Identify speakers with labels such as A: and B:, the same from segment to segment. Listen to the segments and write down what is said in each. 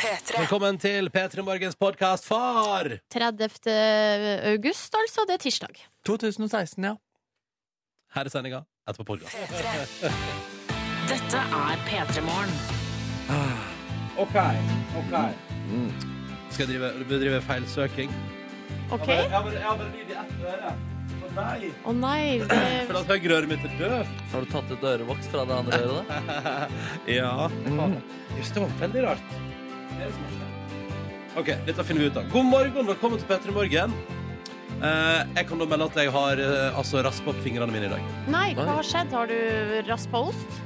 A: P3.
B: Velkommen til P3 Morgens podkast, far!
C: 30. august, altså. Det er tirsdag.
D: 2016, ja.
B: Her er sendinga etterpå podkast.
A: Dette er P3 Morgen.
B: Ah, OK. ok Skal jeg drive, bedrive feilsøking?
C: OK?
B: Jeg har bare- jeg har bare lyd i ett øre. Å, Nei!
C: Å nei,
B: For
C: det
B: at høyreøret mitt er døvt.
D: Har du tatt ut ørevoks fra det andre øret, da?
B: Ja. Just det var veldig rart. OK, dette finner vi ut av. God morgen, velkommen til P3 Morgen. Eh, jeg kan da melde at jeg har uh, altså raspa opp fingrene mine i dag.
C: Nei, hva har skjedd? Har du raspa ost?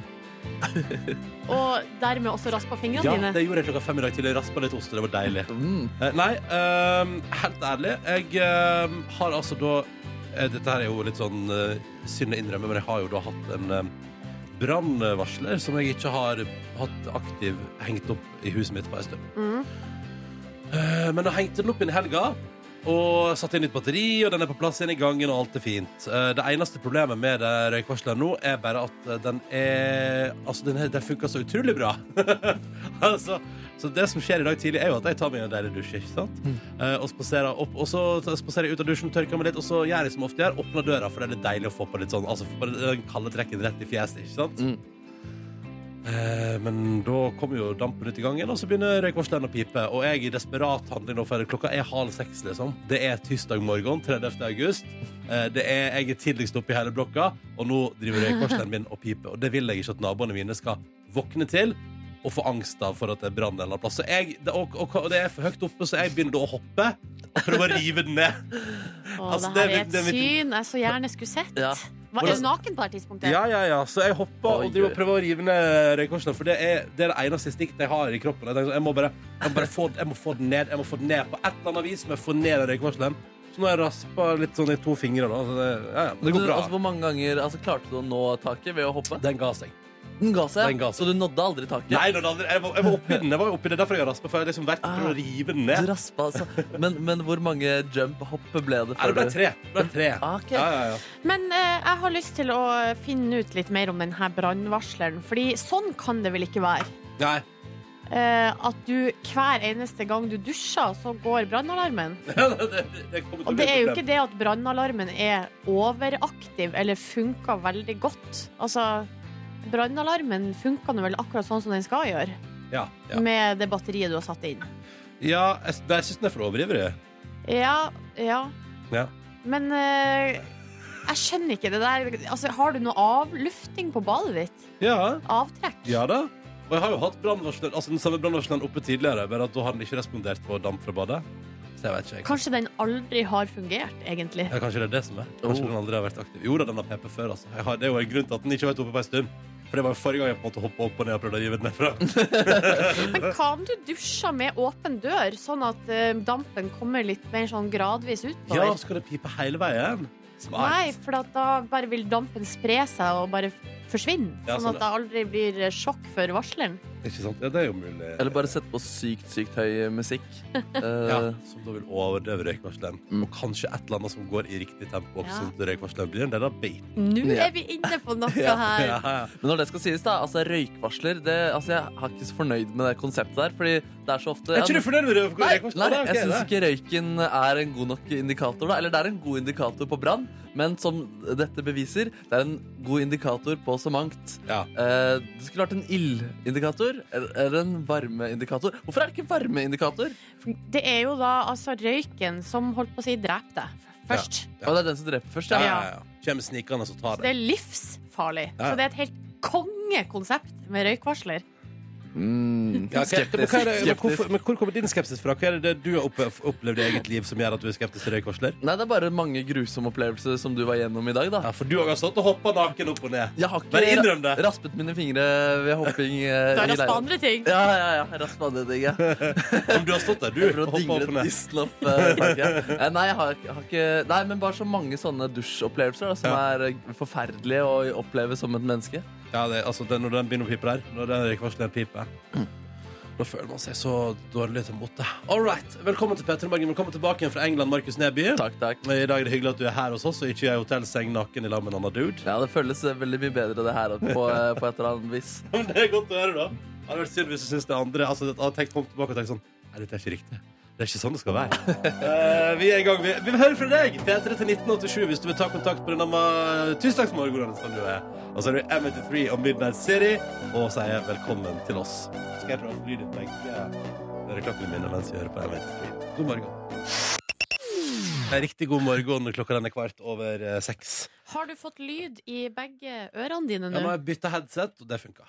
C: Og dermed også raspa fingrene
B: Ja,
C: dine?
B: det gjorde jeg klokka fem i dag tidlig. Raspa litt ost, og det var deilig.
D: Mm.
B: Eh, nei, ehm, helt ærlig. Jeg ehm, har altså da eh, Dette her er jo litt sånn eh, synd å innrømme, men jeg har jo da hatt en um, brannvarsler som jeg ikke har hatt aktiv hengt opp i huset mitt på en stund.
C: Mm.
B: Eh, men jeg hengte den opp inn i helga. Og satte inn nytt batteri, og den er på plass igjen i gangen, og alt er fint. Eh, Det eneste problemet med det røykvarsleren nå, er bare at eh, den er Altså, den, er- den funker så utrolig bra. altså, så det som skjer i dag tidlig, er jo at jeg tar meg en deilig dusj, ikke sant? Eh, Og spaserer opp, og så t- spaserer jeg ut av dusjen, tørker meg litt, og så gjør jeg som ofte gjør, åpner døra, for det er litt deilig å få på litt sånn Altså, få på den kalde trekken rett i fjeset, ikke sant?
D: Mm.
B: Eh, Men da kommer jo dampen ut i gangen, og så begynner røykvarsleren å pipe. Og jeg i desperat handling nå, for klokka er halv seks, liksom. Det er tirsdag morgen, 30. august. Eh, Det er, jeg er tidligst oppe i hele blokka, og nå driver røykvarsleren min og piper. Og det vil jeg ikke at naboene mine skal våkne til og få angst av for at det er brann en eller annen plass. Så jeg, det, og, og, og det er for høyt oppe, så jeg begynner da å hoppe og prøve å rive den ned.
C: Å,
B: Altså,
C: det
B: det er
C: her er
B: mitt-
C: et
B: det er mitt-
C: syn jeg så gjerne skulle sett.
D: Ja.
C: Hva, er du naken på det her tidspunktet?
B: Ja, ja, ja. Så jeg hopper
D: Oi,
B: og driver
D: oi.
B: og prøver å rive ned røykvarsleren. For det er det, er det eneste stikket jeg har i kroppen. Jeg, tenker, sånn, jeg, må bare, jeg må bare få, jeg må få den ned. Jeg må få den ned på et eller annet vis. Men jeg får ned den røykvarsleren. Så nå har jeg raspa litt sånn i to fingre. Da, så det, ja, ja, men det
D: Du,
B: går bra.
D: Altså, hvor mange ganger altså, klarte du å nå taket ved å hoppe?
B: Den ga seg.
D: Den ga seg,
B: Den ga
D: ja.
B: seg.
D: så du nådde aldri taket?
B: Nei, nå, da- jeg var, jeg var oppi den. Jeg var jo oppi det. Derfor jeg raspa. For jeg har liksom vært
C: Ah.
B: for å rive den
D: Du
B: ned.
D: raspa, altså. Men, men hvor mange jump-hopp ble det?
B: Nei, det ble tre. Det ble tre.
D: Ah, ok.
B: Ja, ja, ja.
C: Men eh, jeg har lyst til å finne ut litt mer om denne brannvarsleren, Fordi sånn kan det vel ikke være?
B: Nei.
C: Eh, at du hver eneste gang du dusjer, så går brannalarmen.
B: det, det, det kommer til å
C: Og
B: bli et
C: det er jo
B: problem.
C: ikke det at brannalarmen er overaktiv eller funker veldig godt. Altså, brannalarmen funker nå vel akkurat sånn som den skal gjøre,
B: Ja, ja.
C: med det batteriet du har satt inn.
B: ja jeg, jeg syns den er for overivrig.
C: Ja, ja.
B: Ja.
C: Men eh, jeg skjønner ikke det der. Altså, har du noe avlufting på badet ditt?
B: Ja.
C: Avtrekk?
B: Ja da. Og jeg har jo hatt brannvarsleren altså den samme brannvarsleren oppe tidligere, bare at da har den ikke respondert på damp fra badet. Så jeg vet ikke. Jeg.
C: Kanskje den aldri har fungert, egentlig.
B: Ja, kanskje det er det som er. Kanskje
D: Oh.
B: den aldri har vært aktiv. Jo da, den har PP før, altså. Jeg har, det er jo en grunn til at den ikke har vært oppe på en stund. For det var jo forrige gang jeg på en måte hoppa opp og ned og prøvde å rive den nedfra.
C: Men hva om du dusjer med åpen dør, sånn at eh, dampen kommer litt mer sånn gradvis
B: Ja,
C: utover?
B: skal det pipe hele veien? Smart.
C: Nei, for at da bare vil dampen spre seg og bare f- forsvinne.
B: Ja,
C: sånn
B: sånn,
C: at det aldri blir eh, sjokk for varsleren.
B: Ikke sant? Ja, det er jo mulig.
D: Eller bare sette på sykt, sykt høy musikk.
B: ja,
D: Eh,
B: som da vil overdøve røykvarsleren.
D: Mm.
B: Og kanskje et eller annet som går i riktig tempo, også,
C: Ja.
B: sånn at røykvarsleren blir en del av beiten.
C: Nå
D: Ja.
C: er vi inne på noe
D: Ja,
C: her.
B: Ja, ja.
D: Men når det skal sies, da, altså røykvarsler det, altså, Jeg er ikke så fornøyd med det konseptet der, fordi det er så ofte
B: Er ikke du fornøyd med
D: Nei,
B: røykvarsleren?
D: nei,
B: Ok,
D: jeg syns
B: det.
D: ikke røyken er en god nok indikator. Da. Eller det er en god indikator på brann, men som dette beviser, det er en god indikator på så mangt.
B: Ja.
D: Eh, det skulle vært en ildindikator eller- eller en varmeindikator. Hvorfor er det ikke varmeindikator?
C: Det er jo da altså røyken som holdt på å si dreper deg først.
B: Ja.
D: Å, det er den som dreper først,
B: Ja,
D: ja.
B: ja, ja. Kjem snikende og tar
C: Så det er livsfarlig.
B: Ja.
C: Så det er et helt kongekonsept med røykvarsler.
D: Mm,
B: Ja, ok. men,
D: skeptisk.
B: hva er det, men,
D: skeptisk.
B: hvorfor, men hvor kommer din skepsis fra? Hva er det det du har oppe, opplevd i eget liv som gjør at du er skeptisk til røykvarsler?
D: Nei, det er bare mange grusomme opplevelser som du var gjennom i dag, da.
B: Ja, for du har stått og hoppa naken opp og ned.
D: Jeg har ikke
B: Bare innrøm det.
D: ra- raspet mine fingre ved hopping. eh,
C: Du
D: i
C: har raspa
D: leiligheten.
C: andre ting.
D: Ja, ja, ja. Raspa det digget.
B: Om du har stått der, du.
D: For å
B: og hoppet
D: dingle
B: opp og ned.
D: Islop, eh, tenker jeg. Eh, nei, jeg har, har ikke Nei, men bare så mange sånne dusjopplevelser da, som
B: Ja.
D: er eh, forferdelige å oppleve som et menneske.
B: Ja, det, altså, det, når den begynner å pipe der, når den røykvarsleren piper da føler man seg så dårlig til mote. All right. Velkommen til Petter Morgen. Velkommen tilbake igjen fra England, Markus Neby.
D: Takk, takk.
B: I dag er det hyggelig at du er her hos oss, og ikke i ei hotellseng naken i lag med en annen dude.
D: Ja, Det føles eh, veldig mye bedre det her på, eh, på et eller annet vis.
B: Men det er godt å høre, da. hadde vært synd hvis du syns det andre altså, at hadde tenkt, kom tilbake og tenkt sånn Nei, dette er ikke riktig. Det er ikke sånn det skal være. Eh, vi er i gang. Vi, vi vil høre fra deg! P3 til 1987 hvis du vil ta kontakt på denne ma- tirsdagsmorgenen som du er. Og så er du M83 og Midnight City og sier velkommen til oss. Så skal jeg prøve å fly ditt begge Høre klokken min mens vi hører på M83. God morgen. Eh, Riktig god morgen. Klokka den er kvart over eh, seks.
C: Har du fått lyd i begge ørene dine
B: Jeg må
C: nå?
B: bytte headset, og det funka.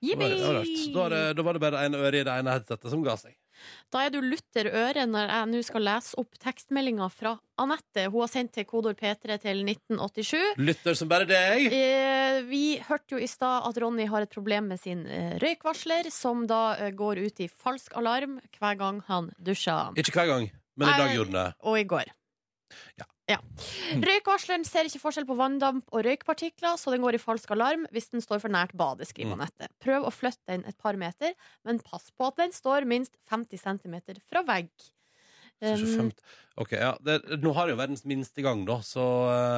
B: Da var
C: Jippi!
B: det- det var rart. Da, var det- da var det bare en øre i det ene headsetet som ga seg.
C: Da er du lutter øre når jeg nå skal lese opp tekstmeldinga fra Anette. Hun har sendt til kodord P3 til 1987.
B: Lytter som bare deg.
C: Eh, vi hørte jo i stad at Ronny har et problem med sin eh, røykvarsler, som da eh, går ut i falsk alarm hver gang han dusjer.
B: Ikke hver gang, men i dag
C: Nei.
B: gjorde den det.
C: og i går.
B: Ja.
C: Røykvarsleren ser ikke forskjell på vanndamp og røykpartikler, så den går i falsk alarm hvis den står for nært badet, skriver
B: Mm.
C: Anette. Prøv å flytte den et par meter, men pass på at den står minst 50 cm fra vegg.
B: Så ikke
C: Um,
B: femt- Ok, ja. Det, nå har jeg jo verdens minste gang, da, så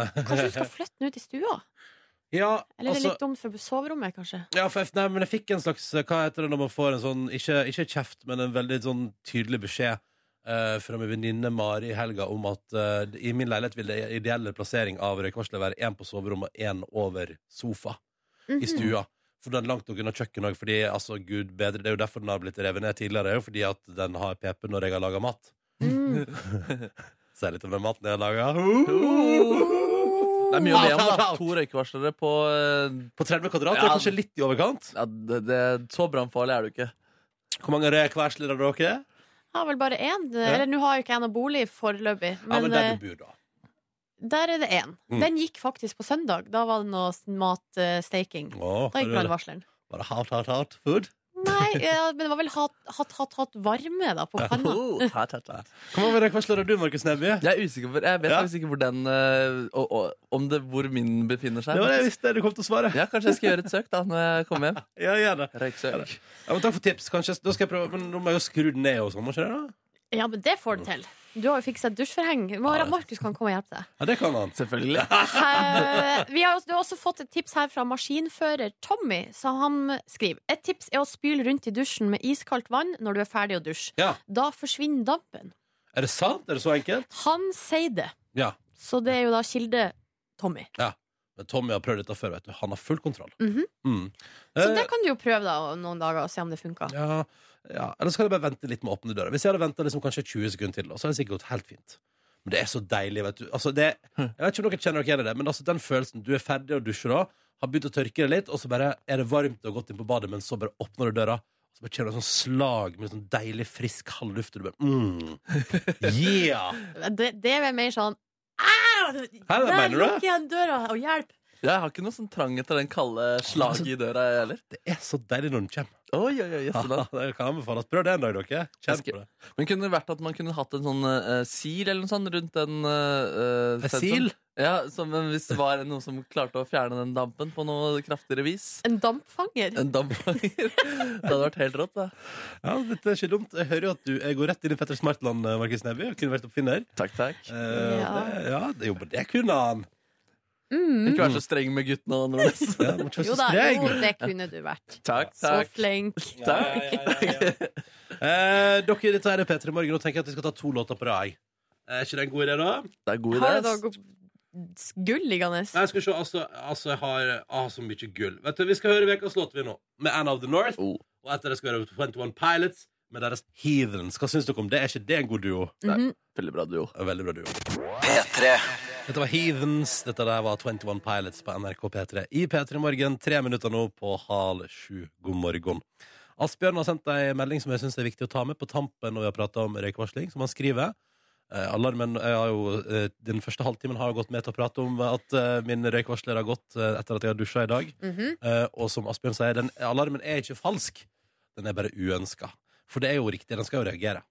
B: eh,
C: kanskje du skal flytte den ut i stua?
B: Ja,
C: Eller det
B: altså
C: er litt dumt for soverommet, kanskje?
B: ja, for, jeg- Nei, men jeg fikk en slags eh, Hva heter det når man får en sånn Ikke, ikke kjeft, men en veldig sånn tydelig beskjed eh, fra min venninne Mari i helga om at eh, i min leilighet vil det ideelle plassering av røykvarsler være én på soverommet og én over sofa. i
C: Mhm.
B: stua. For den er langt nok unna kjøkkenet òg, fordi altså, gud bedre, det er jo derfor den har blitt revet ned tidligere. Det er jo fordi at den har PP når jeg har laga mat.
C: Mm.
B: Så er det litt om den maten jeg har laga.
D: Det er mye å le om, da. To røykevarslere på eh,
B: På 30 kvadrat det er
D: Ja.
B: kanskje litt i overkant.
D: ja, det, det, Så brannfarlig er du ikke.
B: Hvor mange røykvarsler har dere?
C: Jeg har vel bare én. Eller nå har jo ikke jeg noe bolig foreløpig,
B: Ja, men,
C: men eh,
B: der du bor, da.
C: der er det én.
B: Mm.
C: Den gikk faktisk på søndag. Da var det noe matstaking.
B: Åh,
C: Da
B: har du
C: gikk
B: det?
C: brannvarsleren.
B: Bare hot, hot, hot food.
C: Nei, ja, men det var vel hatt, hatt, hatt, hatt varme da på panna.
D: Oh, ta, ta, ta.
B: Hvor mange røykvarsler har du, Markus Neby?
D: Jeg er usikker på, jeg vet
B: Ja.
D: faktisk ikke hvor den eh, og, og, Om det hvor min befinner seg.
B: Det var det jeg visste du kom til å svare.
D: Ja, Kanskje jeg skal gjøre et søk da når jeg kommer hjem.
B: Ja, gjør det.
D: Røyksøk.
B: Ja, men takk for tips. Kanskje, da skal jeg prøve, men nå må jeg jo skru den ned og sånn, må ikke det? da?
C: Ja, men det får du til. Du har jo fiksa et dusjforheng. Mar- Markus kan komme og hjelpe deg.
B: Ja, det kan han.
D: Selvfølgelig.
C: Eh, vi har, også- du har også fått et tips her fra maskinfører Tommy, så han skriver Et tips er å spyle rundt i dusjen med iskaldt vann når du er ferdig å dusje.
B: Ja.
C: Da forsvinner dampen.
B: Er det sant? Er det så enkelt?
C: Han sier det,
B: Ja.
C: så det er jo da kilde Tommy.
B: Men Tommy har prøvd dette før, vet du. Han har full kontroll.
C: Mhm.
B: Mm.
C: Så
B: Eh,
C: det kan du jo prøve da noen dager og se om det funker.
B: ja, ja, eller så kan jeg bare vente litt med å åpne døra. Hvis jeg hadde venta liksom kanskje 20 sekunder til, da, så hadde det sikkert gått helt fint. Men det er så deilig, vet du. Altså, det, jeg vet ikke om dere kjenner dere igjen i det, men altså, den følelsen du er ferdig å dusje da, har begynt å tørke det litt, og så bare er det varmt og godt inn på badet, men så bare åpner du døra, og så bare kjenner du et sånt slag med sånn deilig, frisk halvluft, og du bare mm. Yeah!
C: Det, det er mer sånn Au!
B: Hæ, det
C: Der
B: mener du det?
C: lukk igjen døra, og hjelp!
D: Jeg har ikke noe sånn trang etter den kalde slaget i døra, jeg heller.
B: Det er så deilig når den kommer.
D: Oi, oi, oi, jøsseland.
B: det kan anbefales. Prøv det en dag, dere. Kjenn på det.
D: Men kunne det vært at man kunne hatt en sånn eh, sil eller noe sånt rundt den uh,
B: En sil?
D: Ja, som, men Hvis det var noen som klarte å fjerne den dampen på noe kraftigere vis.
C: En dampfanger?
D: En dampfanger. det hadde vært helt rått, det.
B: Ja, dette er ikke dumt. Jeg hører jo at du jeg går rett inn i Petter Smartland, eh, Markus Neby. og Kunne vært oppfinner.
D: Takk, takk.
B: Eh,
C: Ja.
B: Det, ja, det, jo, men det kunne han.
C: Mm.
D: Ikke vær så streng med guttene. Nordnes.
B: Ja, må ikke være
C: Jo
B: så
C: da,
B: streng.
C: jo, det kunne du vært.
D: Takk,
C: Så
D: takk.
C: flink.
B: Ja, ja, ja, ja, ja. Eh, dere, dette er Petter i morgen, og tenker jeg at vi skal ta to låter på rad. Er ikke det en god idé, da?
D: Det er god idé.
C: Har du da
D: ass.
C: gått gull liggende?
B: Nei, skal vi se. Altså, altså jeg har ah, så mye gull. Vet du, Vi skal høre ukas låt vi nå, med Anna of the North.
D: Oh.
B: Og etter det skal vi høre 21 Pilots med deres Heathens. Hva syns dere om det? Er ikke det en god duo?
C: Mhm.
D: Veldig bra duo.
B: En Veldig bra duo. Dette var Heathens. Dette der var 21 Pilots på NRK P3 i P3 Morgen. Tre minutter nå på halv sju. God morgen. Asbjørn har sendt ei melding som jeg syns er viktig å ta med på tampen når vi har prata om røykvarsling, som han skriver. Eh, alarmen jeg har jo, eh, Den første halvtimen har jeg gått med til å prate om at eh, min røykvarsler har gått eh, etter at jeg har dusja i dag.
C: Mhm.
B: Eh, og som Asbjørn sier, den alarmen er ikke falsk. Den er bare uønska. For det er jo riktig. Den skal jo reagere.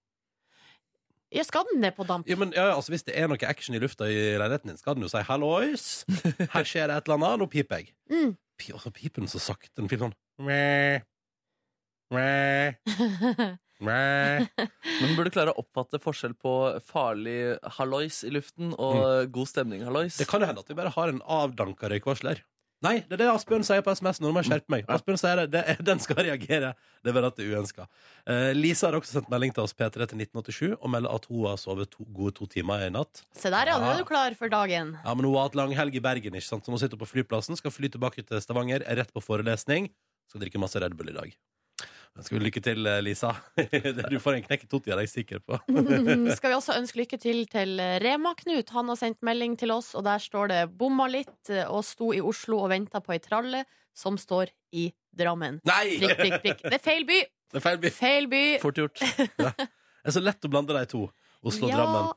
C: Ja, skal den ned på damp?
B: Jo, men, ja, ja, altså, hvis det er noe action i lufta i leiligheten din, skal den jo si 'hallois'. Her skjer det et eller annet. Nå piper jeg.
C: Mm.
B: Pi- Og så piper den så sakte. Den piper sånn mæ, mæ, mæ.
D: Men burde klare å oppfatte forskjell på farlig Mm. hallois i luften og god stemning hallois.
B: Det kan jo hende at vi bare har en avdanka røykvarsler. Nei, det er det Asbjørn sier på SMS. Nå må jeg skjerpe meg.
D: Ja.
B: Asbjørn sier det, det er, Den skal reagere. Det er bare at det er uønska. Eh, Lisa har også sendt melding til oss P3 til 1987 og melder at hun har sovet to, gode to timer i natt.
C: Se der, ja. Nå
B: Ja.
C: er du klar for dagen.
B: Ja, men Hun har hatt langhelg i Bergen, ikke sant? så hun sitter på flyplassen, skal fly tilbake til Stavanger, er rett på forelesning. Skal drikke masse Red Bull i dag. Ønsker vi lykke til, eh, Lisa. du får en knekk i totti, er jeg sikker på.
C: Skal vi også ønske lykke til til Rema-Knut. Han har sendt melding til oss, og der står det 'bomma litt' eh, og sto i Oslo og venta på ei tralle som står i Drammen.
B: Nei!
C: Prikk, prikk, prikk. Det er feil by!
B: Det er feil by.
C: Feil by!
D: Fort gjort.
B: Det er så lett å blande de to. Oslo-Drammen.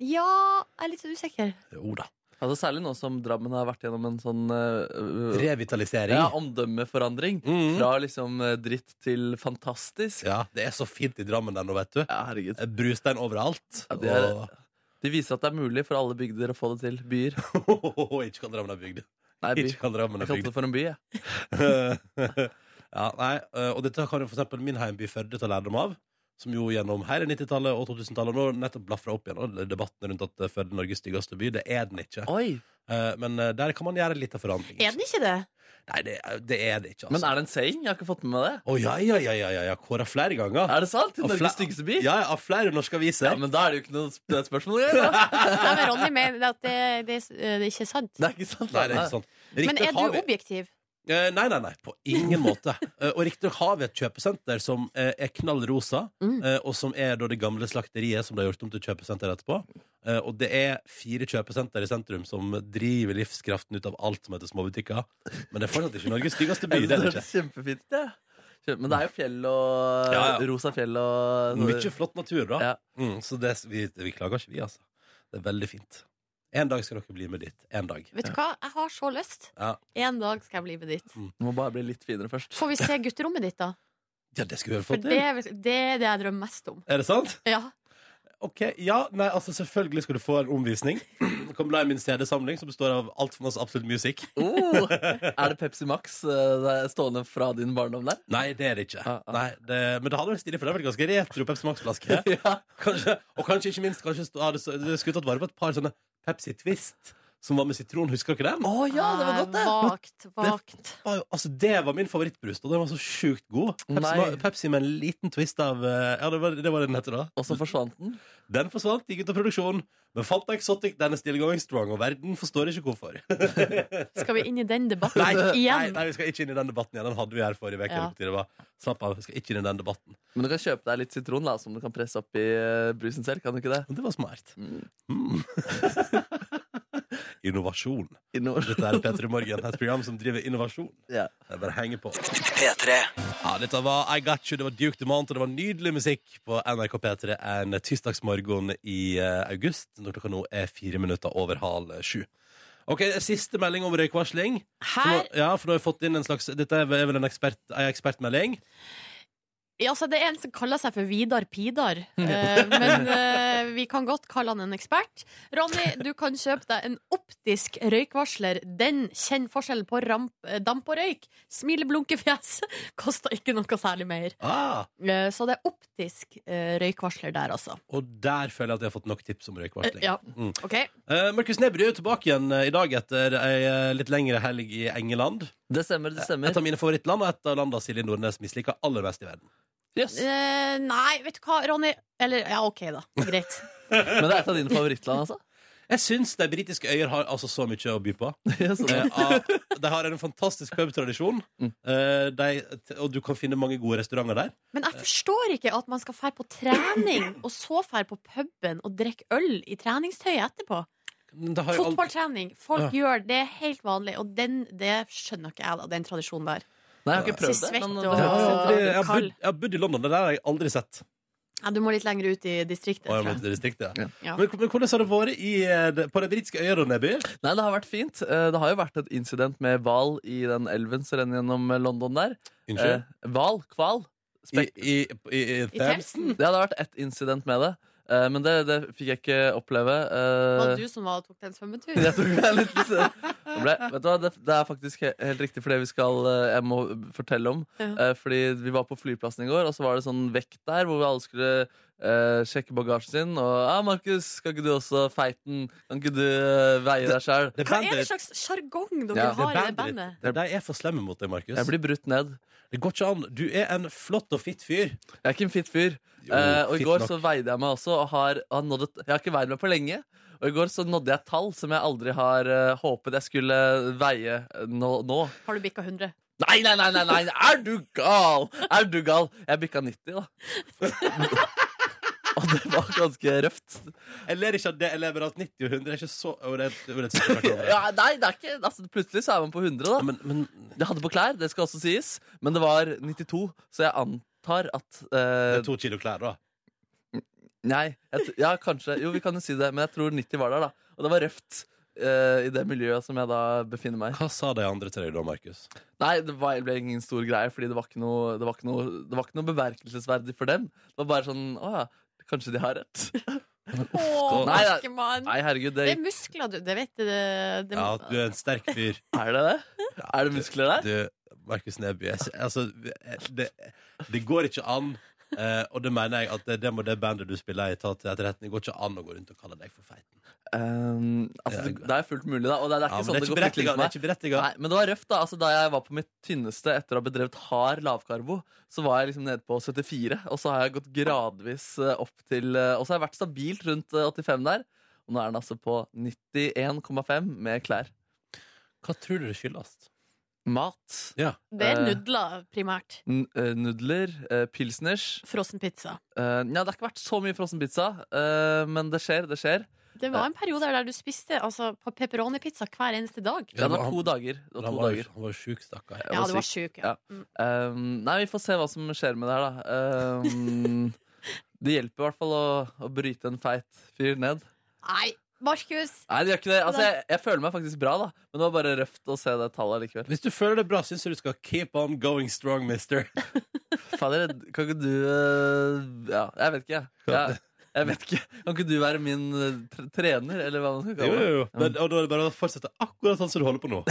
C: Ja, jeg er litt usikker.
B: Jo da.
D: Altså, særlig nå som Drammen har vært gjennom en sånn eh, eh,
B: Revitalisering.
D: ja,
B: Ja,
D: omdømmeforandring.
B: Mhm.
D: Fra liksom eh, dritt til fantastisk.
B: det er så fint i Drammen der nå, vet du.
D: Ja, herregud.
B: Brustein overalt.
D: Ja, det er-
B: Og
D: De viser at det er mulig for alle bygder å få det til. Byer.
B: ikke kan Drammen ha bygd.
D: Nei, by.
B: Ikke kan Drammen ha
D: Jeg kalte
B: bygd.
D: det for en by, jeg.
B: ja, nei, eh, og dette kan jo for eksempel min heimby Førde ta lærdom av. Som jo gjennom hele 90-tallet og 2000-tallet nå nettopp blafra opp igjen. Og debatten rundt at eh, Førde er Norges styggeste by, det er den ikke.
D: Oi!
B: Eh, Men eh, der kan man gjøre litt av forandring.
C: Er den ikke det?
B: Nei, det, er- det er det ikke, altså.
D: Men er det en saying? Jeg har ikke fått med meg det.
B: Å, ja, ja, ja, ja, ja, ja. Kåra flere ganger.
D: Er det sant? Til
B: Av
D: Norges
B: fle-
D: styggeste by?
B: Ah. Ja, ja, av flere norske aviser.
D: Ja, men da er det jo ikke noe sp- det er et spørsmål å gjøre. da.
C: Nei, men Ronny mener at det, det, det er ikke sant.
D: Det er ikke sant.
B: Nei, det er ikke sant.
C: Men
B: Riktignok
C: er
B: har
C: du
B: vi-
C: objektiv?
B: Eh, nei, nei, nei, på ingen måte. Eh, og riktignok har vi et kjøpesenter som eh, er knall rosa,
C: Mm.
B: eh, og som er da det gamle slakteriet som de har gjort om til kjøpesenter etterpå. Eh, og det er fire kjøpesenter i sentrum som driver livskraften ut av alt som heter småbutikker. Men det er fortsatt ikke Norges styggeste by.
D: Jeg synes
B: det er det
D: det
B: ikke.
D: høres kjempefint ut, det. Kjempe- Men det er jo fjell og
B: Ja, ja.
D: rosa fjell og
B: Mye flott natur, da.
D: Ja.
B: Mm, så det, vi, vi klager ikke, vi, altså. Det er veldig fint. En dag skal dere bli med dit. En dag.
C: Vet du hva, jeg har så lyst.
B: Ja.
C: En dag skal jeg bli med dit.
D: Må bare bli litt finere først.
C: Får vi se gutterommet ditt, da?
B: Ja, det skulle vi vel
C: For
B: fått
C: det
B: til.
C: er det, er det jeg drømmer mest om.
B: Er det sant?
C: Ja.
B: Ok, ja, nei, altså Selvfølgelig skal du få en omvisning. Det kommer live min CD-samling, som består av altfor masse absolutt musikk.
D: Oh, er det Pepsi Max eh, det er stående fra din barndom der?
B: Nei, det er det ikke.
D: Ah, ah.
B: Nei, det, men det hadde vært stilig, for det er vel ganske retro Pepsi Max-flaske.
D: Ja.
B: Kanskje- Og kanskje ikke minst Kanskje stå- hadde så- det skulle tatt vare på et par sånne Pepsi Twist som var med sitron. Husker dere den?
D: Å ja, det var
C: Eh,
B: Ah,
D: godt, det!
C: Vagt, vagt.
B: Var jo- Altså, det var min favorittbrus, og den var så sjukt god. Pepsi,
D: Nei.
B: Ma- Pepsi med en liten twist av eh, Ja, det var det var det den heter da.
D: Og så forsvant den.
B: Den forsvant, gikk ut av produksjon. Men Fanta Exotic den er still going strong, og verden forstår ikke hvorfor.
C: Skal vi inn i den debatten
B: Nei, nei,
C: igjen?
B: nei, vi skal ikke inn i den debatten igjen. Den hadde vi her forrige uke.
C: Ja.
B: Det var- Slapp av, vi skal ikke inn i den debatten.
D: Men du kan kjøpe deg litt sitron da, som du kan presse opp i eh, brusen selv. kan du ikke det?
B: Men det var smart.
D: Mm.
B: Mm. innovasjon.
D: Innover.
B: Dette er P3 Morgen, et program som driver innovasjon.
D: Ja.
B: Jeg bare henger på. Ja, dette var I Got You, det var Duke Dumont, og det var nydelig musikk på NRK P3 en tirsdagsmorgen i eh, august, når klokka nå er fire minutter over halv eh, sju. Ok, Siste melding om røykvarsling. For
C: Her
B: nå- Ja, for nå har vi fått inn en slags Dette er vel en ekspert, en ekspertmelding.
C: Ja, altså det er en som kaller seg for Vidar Pidar, eh, men eh, vi kan godt kalle han en ekspert. Ronny, du kan kjøpe deg en optisk røykvarsler. Den kjenner forskjellen på ramp, eh, damp og røyk. Smileblunkefjes. Koster ikke noe særlig mer.
B: Ah,
C: Eh, så det er optisk eh, røykvarsler der, altså.
B: og der føler jeg at jeg har fått nok tips om røykvarsling.
C: Ja,
B: Mm.
C: OK.
B: Eh, Markus Neby er jo tilbake igjen eh, i dag etter ei eh, litt lengre helg i Engeland.
D: Det stemmer, det
B: Et
D: stemmer.
B: av mine favorittland, og et av landene Silje Nordnes misliker aller mest i verden.
D: Yes.
C: Eh, nei, vet du hva, Ronny? Eller ja, OK, da. Greit.
D: Men det er et av dine favorittland, altså?
B: Jeg syns de britiske øyer har altså så mye å by på.
D: Ja, så det-
B: Eh, av- De har en fantastisk pubtradisjon,
D: Mm.
B: eh, de- og du kan finne mange gode restauranter der.
C: Men jeg forstår ikke at man skal fære på trening, og så fære på puben og drikke øl i treningstøyet etterpå.
B: Men det har jo alt-
C: Fotballtrening. Folk gjør det helt vanlig, og den, det skjønner ikke jeg, da, den tradisjonen der.
D: Nei, jeg har ikke prøvd
C: Så
D: det.
C: svett
D: men
C: og-
B: Jeg har aldri- jeg har
C: Kall.
B: bodd- jeg har bodd i London, det der har jeg aldri sett.
C: Ja, du må litt lenger ut i distriktet,
B: Og jeg
C: tror
B: må
C: jeg.
B: til distriktet.
D: Ja.
C: Ja.
B: Men, men hvordan har det vært i, eh, det- på de britiske øyer og Neby?
D: Nei, det har vært fint. Eh, Det har jo vært et incident med hval i den elven som renner gjennom eh, London der.
B: Unnskyld?
D: Eh, Hval? Kval?
B: I,
D: Spek
B: i, i, i
C: I Themsen?
D: Det hadde vært ett incident med det, eh, men det, det fikk jeg ikke oppleve. eh,
C: Var det du som var, tok den svømmeturen?
D: Jeg tok meg litt det ble, Vet du hva, det, det er faktisk he- helt riktig for det vi skal eh, Jeg må fortelle om
C: Ja.
D: Eh, Fordi vi var på flyplassen i går Og så var det sånn vekt der Hvor vi alle skulle eh, sjekker bagasjen sin, og ah, 'Markus, skal ikke du også feiten? Kan ikke du eh, veie deg sjæl?'
B: Det er
C: Hva er det
B: bandit.
C: slags sjargong dere
D: Ja, det
B: Det
C: har i det
B: er bandit.
C: bandet?
B: De er for slemme mot deg, Markus.
D: Jeg blir brutt ned.
B: Det går ikke an. Du er en flott og fitt fyr.
D: Jeg er ikke en fitt fyr.
B: Jo,
D: Eh, og i
B: fitt
D: går
B: nok.
D: så veide jeg meg også, og har, har nådd et, jeg har ikke veid meg på lenge. Og i går så nådde jeg et tall som jeg aldri har eh, håpet jeg skulle veie eh, nå. nå.
C: Har du bikka 100?
D: Nei, nei, nei, nei, nei, er du gal? Er du gal? Jeg bikka 90, da. og det var ganske røft.
B: Jeg ler ikke av det. Jeg ler bare av at 90 og 100 er ikke så og det er- og det er et
D: Ja, nei, det er ikke altså, Plutselig så er man på 100, da.
B: Men, men
D: Jeg hadde på klær, det skal også sies, men det var 92, så jeg antar at
B: det
D: eh,
B: er to kilo klær, da.
D: Nei, jeg, t- ja, kanskje. Jo, vi kan jo si det, men jeg tror 90 var der, da. Og det var røft eh, i det miljøet som jeg da befinner meg i.
B: Hva sa de andre til deg da, Markus?
D: Nei, det var, ble ingen stor greie, fordi det var, ikke noe, det, var ikke noe, det var ikke noe bemerkelsesverdig for dem. Det var bare sånn Å ja, kanskje de har rett.
C: Å,
D: Nei, det-
C: Markemann!
D: Nei, herregud,
C: Det
D: det
C: er muskler, du. Det vet du. Det, det,
B: Ja, at du er en sterk fyr.
D: er det det? Er det muskler der?
B: Du, Markus Neby, jeg, altså, det, det går ikke an. eh, og det mener jeg at det, det må det bandet du spiller i, ta til etterretning. Det går ikke an å gå rundt og kalle deg for feit.
D: Ehm, altså,
B: Ja.
D: det er fullt mulig, da. Og det, det
B: Ja,
D: er ikke
B: men
D: sånn
B: det er
D: det
B: ikke
D: går fryktelig
B: berettiget.
D: for
B: Det
D: meg.
B: er ikke berettiget.
D: Nei, men det var røft da, altså Da jeg var på mitt tynneste etter å ha bedrevet hard lavkarbo, så var jeg liksom nede på 74, og så har jeg gått gradvis eh, opp til eh, Og så har jeg vært stabilt rundt eh, 85 der, og nå er den altså på 91,5 med klær.
B: Hva tror du det skyldes?
D: Mat.
B: Ja.
C: det er
D: eh,
C: nudler, primært.
D: N eh, nudler, eh, pilsners
C: Frossen pizza.
D: eh, Nja, det har ikke vært så mye frossen pizza, eh, men det skjer, det skjer.
C: Det var en periode der du spiste altså, på pepperoni-pizza hver eneste dag.
D: Det var to dager. Det var
B: Han
D: to
B: var,
D: dager.
B: han var sjuk, stakkar.
D: Jeg
C: Ja,
D: var
C: du var sjuk. Ja.
D: Ja. Um, nei, vi får se hva som skjer med det her, da. Um, det hjelper i hvert fall å, å bryte en feit fyr ned.
C: Nei, Markus!
D: Nei, det gjør ikke det. Altså, jeg, jeg føler meg faktisk bra, da. Men det var bare røft å se det tallet likevel.
B: Hvis du føler det bra, syns jeg du skal keep on going strong, mister.
D: Fader, kan ikke du eh, Ja, jeg vet ikke, jeg. jeg. Jeg vet ikke. Kan ikke du være min eh, tre- trener, eller hva man
B: Jo,
D: skal
B: jo,
D: kalle det?
B: jo. Men, og da er det bare å fortsette akkurat sånn som du holder på nå.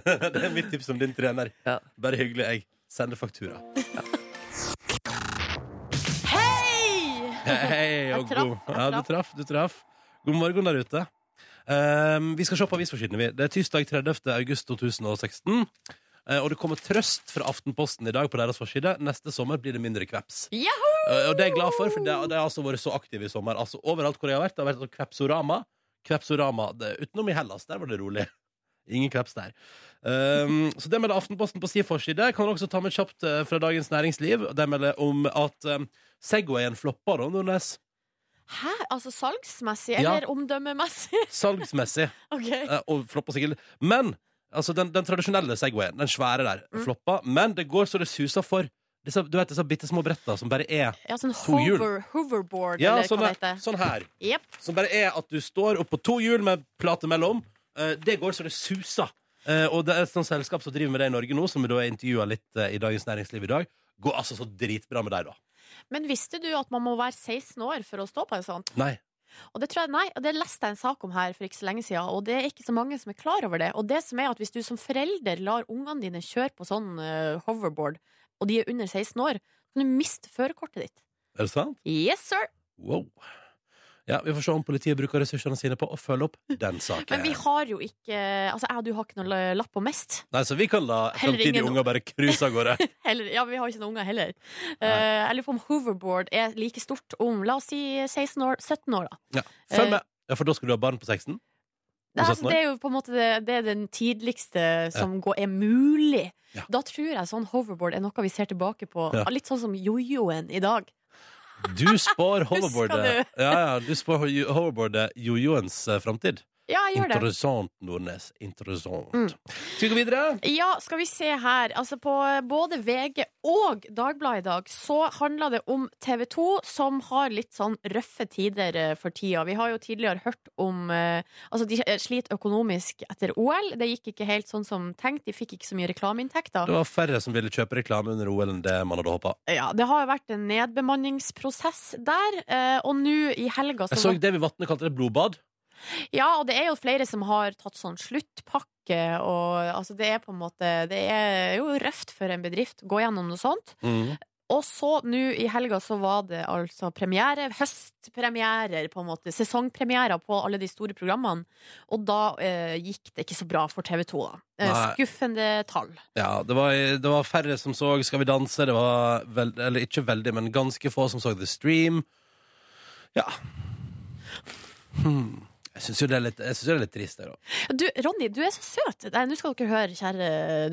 B: det er mitt tips som din trener.
D: Ja.
B: Bare hyggelig. Jeg sender faktura.
C: Hei!
B: Hei, og
C: Jeg traff,
B: god
C: jeg
B: Ja, du traff, du traff. God morgen der ute. Ehm, vi skal se på avisforsidene, vi. Det er tirsdag 30. august 2016. eh, Og det kommer trøst fra Aftenposten i dag på deres forside. Neste sommer blir det mindre kveps.
C: Yahoo!
B: Eh, Og det er jeg glad for, for det, det har altså vært så aktiv i sommer. Altså Overalt hvor jeg har vært, det har vært sånn kvepsorama. Kvepsorama det, utenom i Hellas, der var det rolig. Ingen kveps der. Um, så det melder Aftenposten på sin forside. Kan dere også ta med kjapt eh, fra Dagens Næringsliv. De melder om at um, Segwayen flopper da, Nordnes.
C: Hæ? Altså salgsmessig
B: Ja.
C: eller omdømmemessig?
B: Salgsmessig.
C: OK.
B: eh, og flopper sikkert. Men altså den, den tradisjonelle Segwayen, den svære der,
C: Mm.
B: flopper. Men det går så det suser for. Disse, du vet disse bitte små bretta som bare er
C: Ja, sånn
B: To hjul.
C: hover, hoverboard,
B: Ja,
C: eller
B: sånn,
C: hva
B: der-
C: det heter.
B: sånn her.
C: Jep.
B: Som bare er at du står oppå to hjul med plate mellom. Eh, Det går så det suser. Eh, Og det er et sånt selskap som driver med det i Norge nå, som da er intervjua litt eh, i Dagens Næringsliv i dag. Går altså så dritbra med deg, da.
C: Men visste du at man må være 16 år for å stå på en sånn?
B: Nei.
C: Og det tror jeg, nei, og det leste jeg en sak om her for ikke så lenge siden, og det er ikke så mange som er klar over det. Og det som er at hvis du som forelder lar ungene dine kjøre på sånn eh, hoverboard, og de er under 16 år, kan du miste førerkortet ditt.
B: Er det sant?
C: Yes, sir!
B: Wow. Ja, Vi får se om politiet bruker ressursene sine på å følge opp den saken.
C: Men vi har jo ikke Altså, jeg og du har ikke noe lapp på mest.
B: Nei, Så vi kan la
C: Heller
B: framtidige
C: ingen-
B: unger bare cruise av gårde.
C: Heller, ja, vi har ikke noen unger heller. Eh,
B: Nei.
C: jeg lurer på om hoverboard er like stort om, la oss si 16 år, 17 år, da.
B: Ja, Følg med. Ja, For da skal du ha barn på 16?
C: Det,
B: Og 17 år?
C: er- Altså, det er jo på en måte det, det er den tidligste som går, er mulig.
B: Ja.
C: Da tror jeg sånn hoverboard er noe vi ser tilbake på.
B: Ja.
C: Litt sånn som jojoen i dag.
B: Du spår hoverboardet.
C: Husker
B: Ja, ja, du spår ho- hoverboardet jojoens eh, framtid.
C: Ja, jeg gjør det.
B: Interessant, Nordnes. Interessant.
C: Mm.
B: Skal vi gå videre?
C: Ja, skal vi se her. Altså På både VG og Dagbladet i dag så handler det om TV 2, som har litt sånn røffe tider eh, for tida. Vi har jo tidligere hørt om eh, Altså, de sliter økonomisk etter OL. Det gikk ikke helt sånn som tenkt. De fikk ikke så mye reklameinntekter.
B: Det var færre som ville kjøpe reklame under OL enn det man hadde håpa.
C: Ja, det har jo vært en nedbemanningsprosess der, eh, og nå i helga så,
B: Jeg så Davy Vatne kalte det blodbad.
C: Ja, og det er jo flere som har tatt sånn sluttpakke,
B: Mm.
C: og altså det er på en måte Det er jo røft for en bedrift å gå gjennom noe sånt. Og så nå i helga så var det altså premiere, høstpremierer på en måte, sesongpremierer på alle de store programmene. Og da eh, gikk det ikke så bra for TV 2, da. Eh,
B: Nei.
C: skuffende tall.
B: Ja, det var, det var færre som så Skal vi danse, det var vel, eller ikke veldig, men ganske få som så The Stream. Ja. Hmm. Jeg syns jo det er litt, jeg synes jo det er litt trist, det, da.
C: Du, Ronny, du er så søt! Nei, nå skal dere høre, kjære,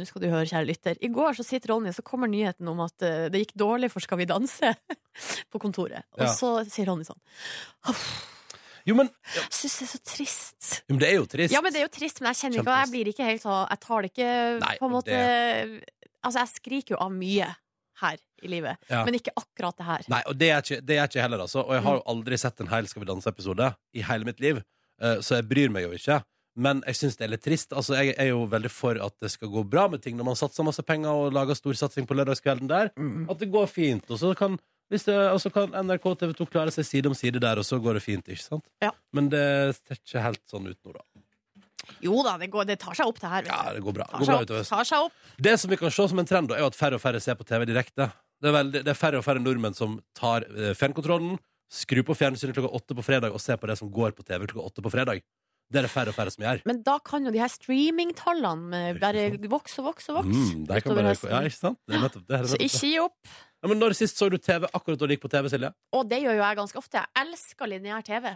C: nå skal du høre, kjære lytter. I går så sitter Ronny, så kommer nyheten om at eh, det gikk dårlig for Skal vi danse på kontoret. Og
B: Ja.
C: så sier Ronny sånn
B: Jo, men,
C: Jeg syns det er så trist.
B: jo, men det er jo trist.
C: Ja, men det er jo trist, men jeg kjenner ikke Jeg blir ikke helt sånn Jeg tar det ikke
B: Nei,
C: på en
B: men
C: måte Altså, jeg skriker jo av mye her i livet,
B: Ja.
C: men ikke akkurat det her.
B: Nei, og det er ikke, det er ikke jeg heller, altså. Og jeg har jo aldri sett en hel Skal vi danse-episode i hele mitt liv, eh, så jeg bryr meg jo ikke. Men jeg syns det er litt trist. Altså, jeg er jo veldig for at det skal gå bra med ting når man satser masse penger og lager storsatsing på lørdagskvelden der. At det går fint. Og så kan, hvis det, og så kan NRK og TV 2 klare seg side om side der, og så går det fint, ikke sant?
C: Ja.
B: Men det ser ikke helt sånn ut nå, da.
C: Jo da, det, går, det tar seg opp, det her.
B: Ja,
C: Vet du.
B: det går bra. Det
C: Tar
B: går bra
C: seg opp,
B: utover høsten.
C: tar seg opp.
B: Det som vi kan se som en trend, da, er jo at færre og færre ser på TV direkte. Det er, veldig, det er færre og færre nordmenn som tar eh, fjernkontrollen, skrur på fjernsynet klokka åtte på fredag og ser på det som går på TV klokka åtte på fredag. Det er det færre og færre som gjør.
C: Men da kan jo de her streamingtallene med- bare vokse og vokse og vokse.
B: Mm, det kan
C: utover
B: bare,
C: høsten.
B: ja, ikke sant? Det er nettopp, det er
C: Så
B: nettopp. det.
C: ikke gi opp.
B: Ja, men når sist så du TV akkurat da det gikk på TV, Silje?
C: Og det gjør jo jeg ganske ofte. Jeg elsker lineær TV.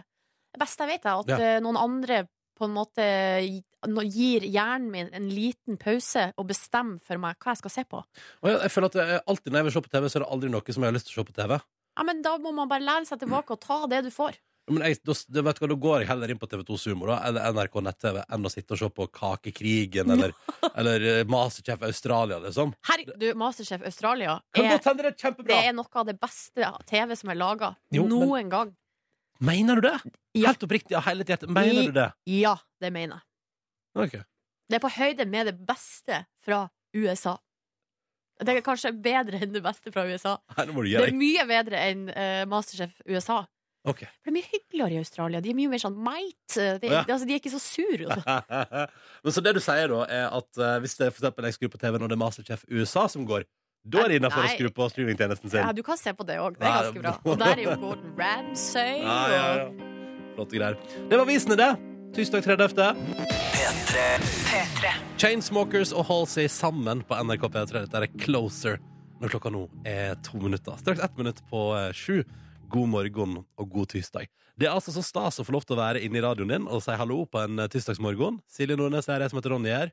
C: Det beste jeg vet, er at
B: Ja.
C: eh, noen andre på en måte gi- nå gir hjernen min en liten pause og bestemmer for meg hva jeg skal se på.
B: Og jeg, jeg føler at jeg, alltid når jeg vil se på TV, så er det aldri noe som jeg har lyst til å se på TV.
C: Ja, men da må man bare lene seg tilbake og ta det du får.
B: Men jeg, da, da vet du hva, da går jeg heller inn på TV2 Sumo da, eller NRK Nett-TV enn å sitte og se på Kakekrigen eller, eller eh, Masterchef Australia, liksom.
C: Her, du, Masterchef Australia
B: Kan
C: er,
B: godt hende det er
C: det
B: kjempebra!
C: er noe av det beste TV som er laga
B: Jo, men-
C: noen gang.
B: Mener du det?
C: Ja.
B: Helt oppriktig av hele hjertet. Mener
C: I-
B: du det?
C: Ja, det mener jeg.
B: Ok.
C: Det er på høyde med det beste fra USA. Det er kanskje bedre enn det beste fra USA.
B: Nei, nå må du gi
C: Det er
B: deg.
C: mye bedre enn eh, Masterchef USA.
B: Ok.
C: For det er mye hyggeligere i Australia. De er mye mer sånn mate.
B: Å,
C: De,
B: ja.
C: altså, de er ikke så sur. og sånn.
B: Men så det du sier da, er at eh, hvis det er for eksempel jeg skrur på TV når det er Masterchef USA som går, da er det innenfor å
C: Nei.
B: skru på streamingtjenesten
C: Ja,
B: sin.
C: du kan se på det òg. Det er
B: Ja,
C: ganske
B: det
C: bra.
B: er bra.
C: Og der er jo Gordon Ramsay.
B: Ja, ja, ja. Flotte greier. Det var visene, det. Tirsdag 30.
A: P3.
B: Chainsmokers og Halsey sammen på NRK P3. Dette er Closer når klokka nå er to minutter. Straks ett minutt på eh, sju. God morgen og god tirsdag. Det er altså så stas å få lov til å være inne i radioen din og si hallo på en eh, tirsdagsmorgen. Silje Nordnes er jeg som heter Ronny her.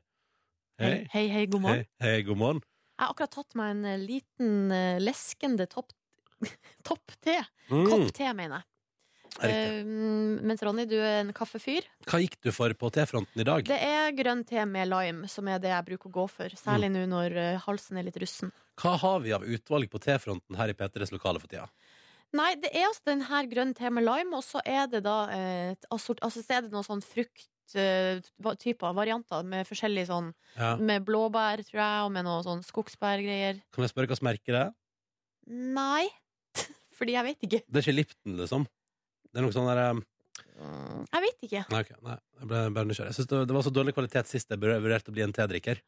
C: Hei, hei, hei, god morgen.
B: Hei, hei, god morgen.
C: Jeg har akkurat tatt meg en eh, liten eh, leskende topp topp-te.
B: Mm,
C: Kopp-te, mener jeg.
B: riktig.
C: Eh, mens Ronny, du er en kaffefyr.
B: Hva gikk du for på T-fronten i dag?
C: Det er grønn te med lime som er det jeg bruker å gå for.
B: Mm.
C: Særlig nå når eh, halsen er litt russen.
B: Hva har vi av utvalg på T-fronten her i P3s lokale for tida?
C: Nei, det er altså den her grønn te med lime, og så er det da eh, et assort- altså, så er det noen sånn eh, frukttyper, varianter, med forskjellig sånn
B: Ja.
C: Med blåbær, tror jeg, og med noe sånn skogsbærgreier.
B: Kan jeg spørre hva som merker det?
C: Nei, fordi jeg vet ikke.
B: Det er ikke Lipton, liksom? Det er noe sånn der eh,
C: Jeg vet ikke.
B: Nei, ok, nei, jeg ble bare nysgjerrig. Jeg synes det, det var så dårlig kvalitet sist jeg vurderte å bli en tedrikker.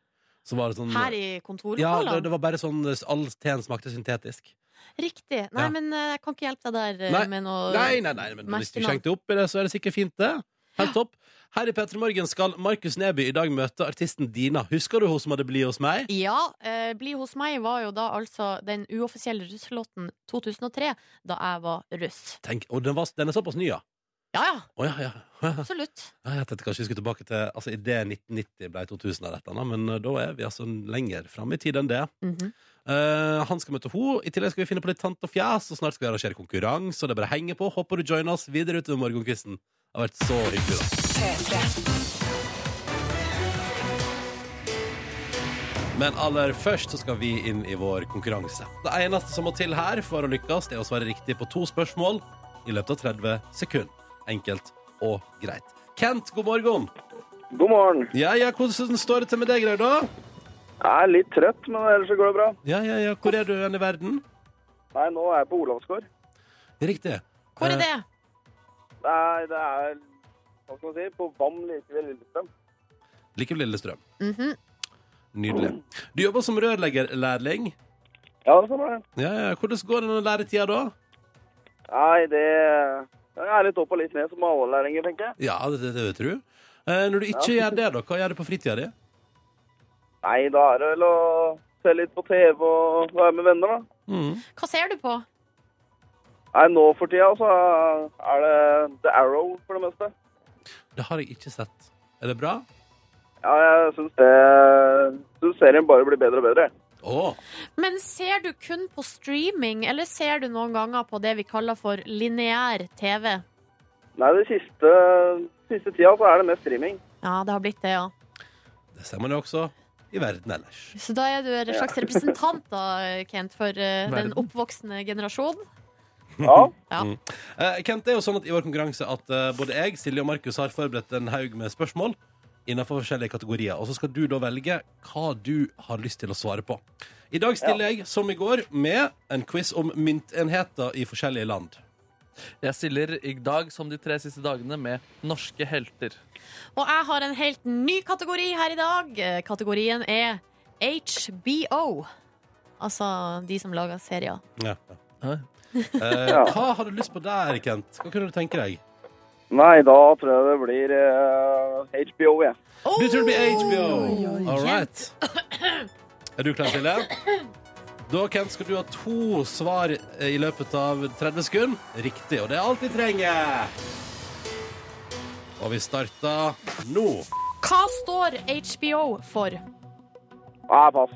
B: Så var det sånn
C: Her i
B: Ja, det,
C: kontorlokalene?
B: det var bare sånn All teen smakte syntetisk.
C: Riktig. Nei,
B: Ja.
C: men eh, jeg kan ikke hjelpe deg der eh,
B: Nei.
C: med noe
B: Nei, nei, nei, men hvis du
C: merkenavn.
B: skjenker opp i det, så er det sikkert fint, det. Helt topp. Her i P3 Morgen skal Markus Neby i dag møte artisten Dina. Husker du hun som hadde blitt hos meg?
C: Ja, eh, Bli hos meg var jo da altså den uoffisielle russelåten 2003, da jeg var russ.
B: Tenk, og den, var, den er såpass ny, ja.
C: Ja ja,
B: Å ja, ja. ja.
C: absolutt.
B: Jeg tenkte kanskje vi skulle tilbake til Altså, idet 1990 ble 2000 eller et eller annet, men eh, da er vi altså lenger fram i tid enn det.
C: Mhm.
B: Eh, han skal møte henne. I tillegg skal vi finne på litt tant og fjas, og snart skal vi arrangere konkurranse. Og det er bare å henge på. Håper du joiner oss videre utover morgenkvisten. Det har vært så hyggelig. da. Men aller først så skal vi inn i vår konkurranse. Det eneste som må til her for å lykkes, det er å svare riktig på to spørsmål i løpet av 30 sekunder. Enkelt og greit. Kent, god morgen.
E: God morgen.
B: Ja, ja, hvordan står det til med deg, Grau, da?
E: Jeg er litt trøtt, men ellers så går det bra.
B: Ja, ja, ja. Hvor er du hen i verden?
E: Nei, nå er jeg på Olavsgård.
B: Riktig.
C: Hvor
B: Eh.
C: er det?
E: Det er, det er hva skal man si, på Vam like ved Lillestrøm.
B: Like ved Lillestrøm.
C: Mhm.
B: Nydelig. Du jobber som rørleggerlærling.
E: Ja, sånn er det.
B: Ja, ja. Hvordan går den læretida da?
E: Nei, det det er litt opp og litt ned, som med alle lærlinger, tenker jeg.
B: Ja, det, det, det tror jeg. Eh, når du ikke gjør det, da, hva gjør du på fritida di?
E: Nei, da er det vel å se litt på TV og være med venner, da.
B: Mm.
C: Hva ser du på?
E: Nei, nå for tida så er det The Arrow for det meste.
B: Det har jeg ikke sett. Er det bra?
E: Ja, jeg syns det Syns serien bare blir bedre og bedre.
B: Å!
C: Men ser du kun på streaming, eller ser du noen ganger på det vi kaller for lineær TV?
E: Nei, det siste, siste tida så er det mest streaming.
C: Ja, det har blitt det, ja.
B: Det ser man jo også i verden ellers.
C: Så da er du en slags representant da, Kent, for eh, den
D: Verden.
C: oppvoksende generasjon.
E: Ja.
C: Ja.
B: Eh, Kent, det er jo sånn at i vår konkurranse at eh, både jeg, Silje og Markus har forberedt en haug med spørsmål innenfor forskjellige kategorier. Og så skal du da velge hva du har lyst til å svare på. I dag stiller jeg, som i går, med en quiz om myntenheter i forskjellige land.
D: Jeg stiller i dag som de tre siste dagene med norske helter.
C: Og jeg har en helt ny kategori her i dag. Eh, Kategorien er HBO. Altså de som lager serier.
B: Ja.
D: Hæ?
B: Eh,
E: Ja.
B: hva har du lyst på der, Kent? Hva kunne du tenke deg?
E: Nei, da tror jeg det blir eh, HBO, jeg.
C: Oh!
B: Du tror det blir HBO! All right. Er du klar, Silje? Da, Kent, skal du ha to svar eh, i løpet av 30 sekunder. Riktig, og det er alt vi trenger. Og vi starter nå.
C: Hva står HBO for?
E: Nei, pass.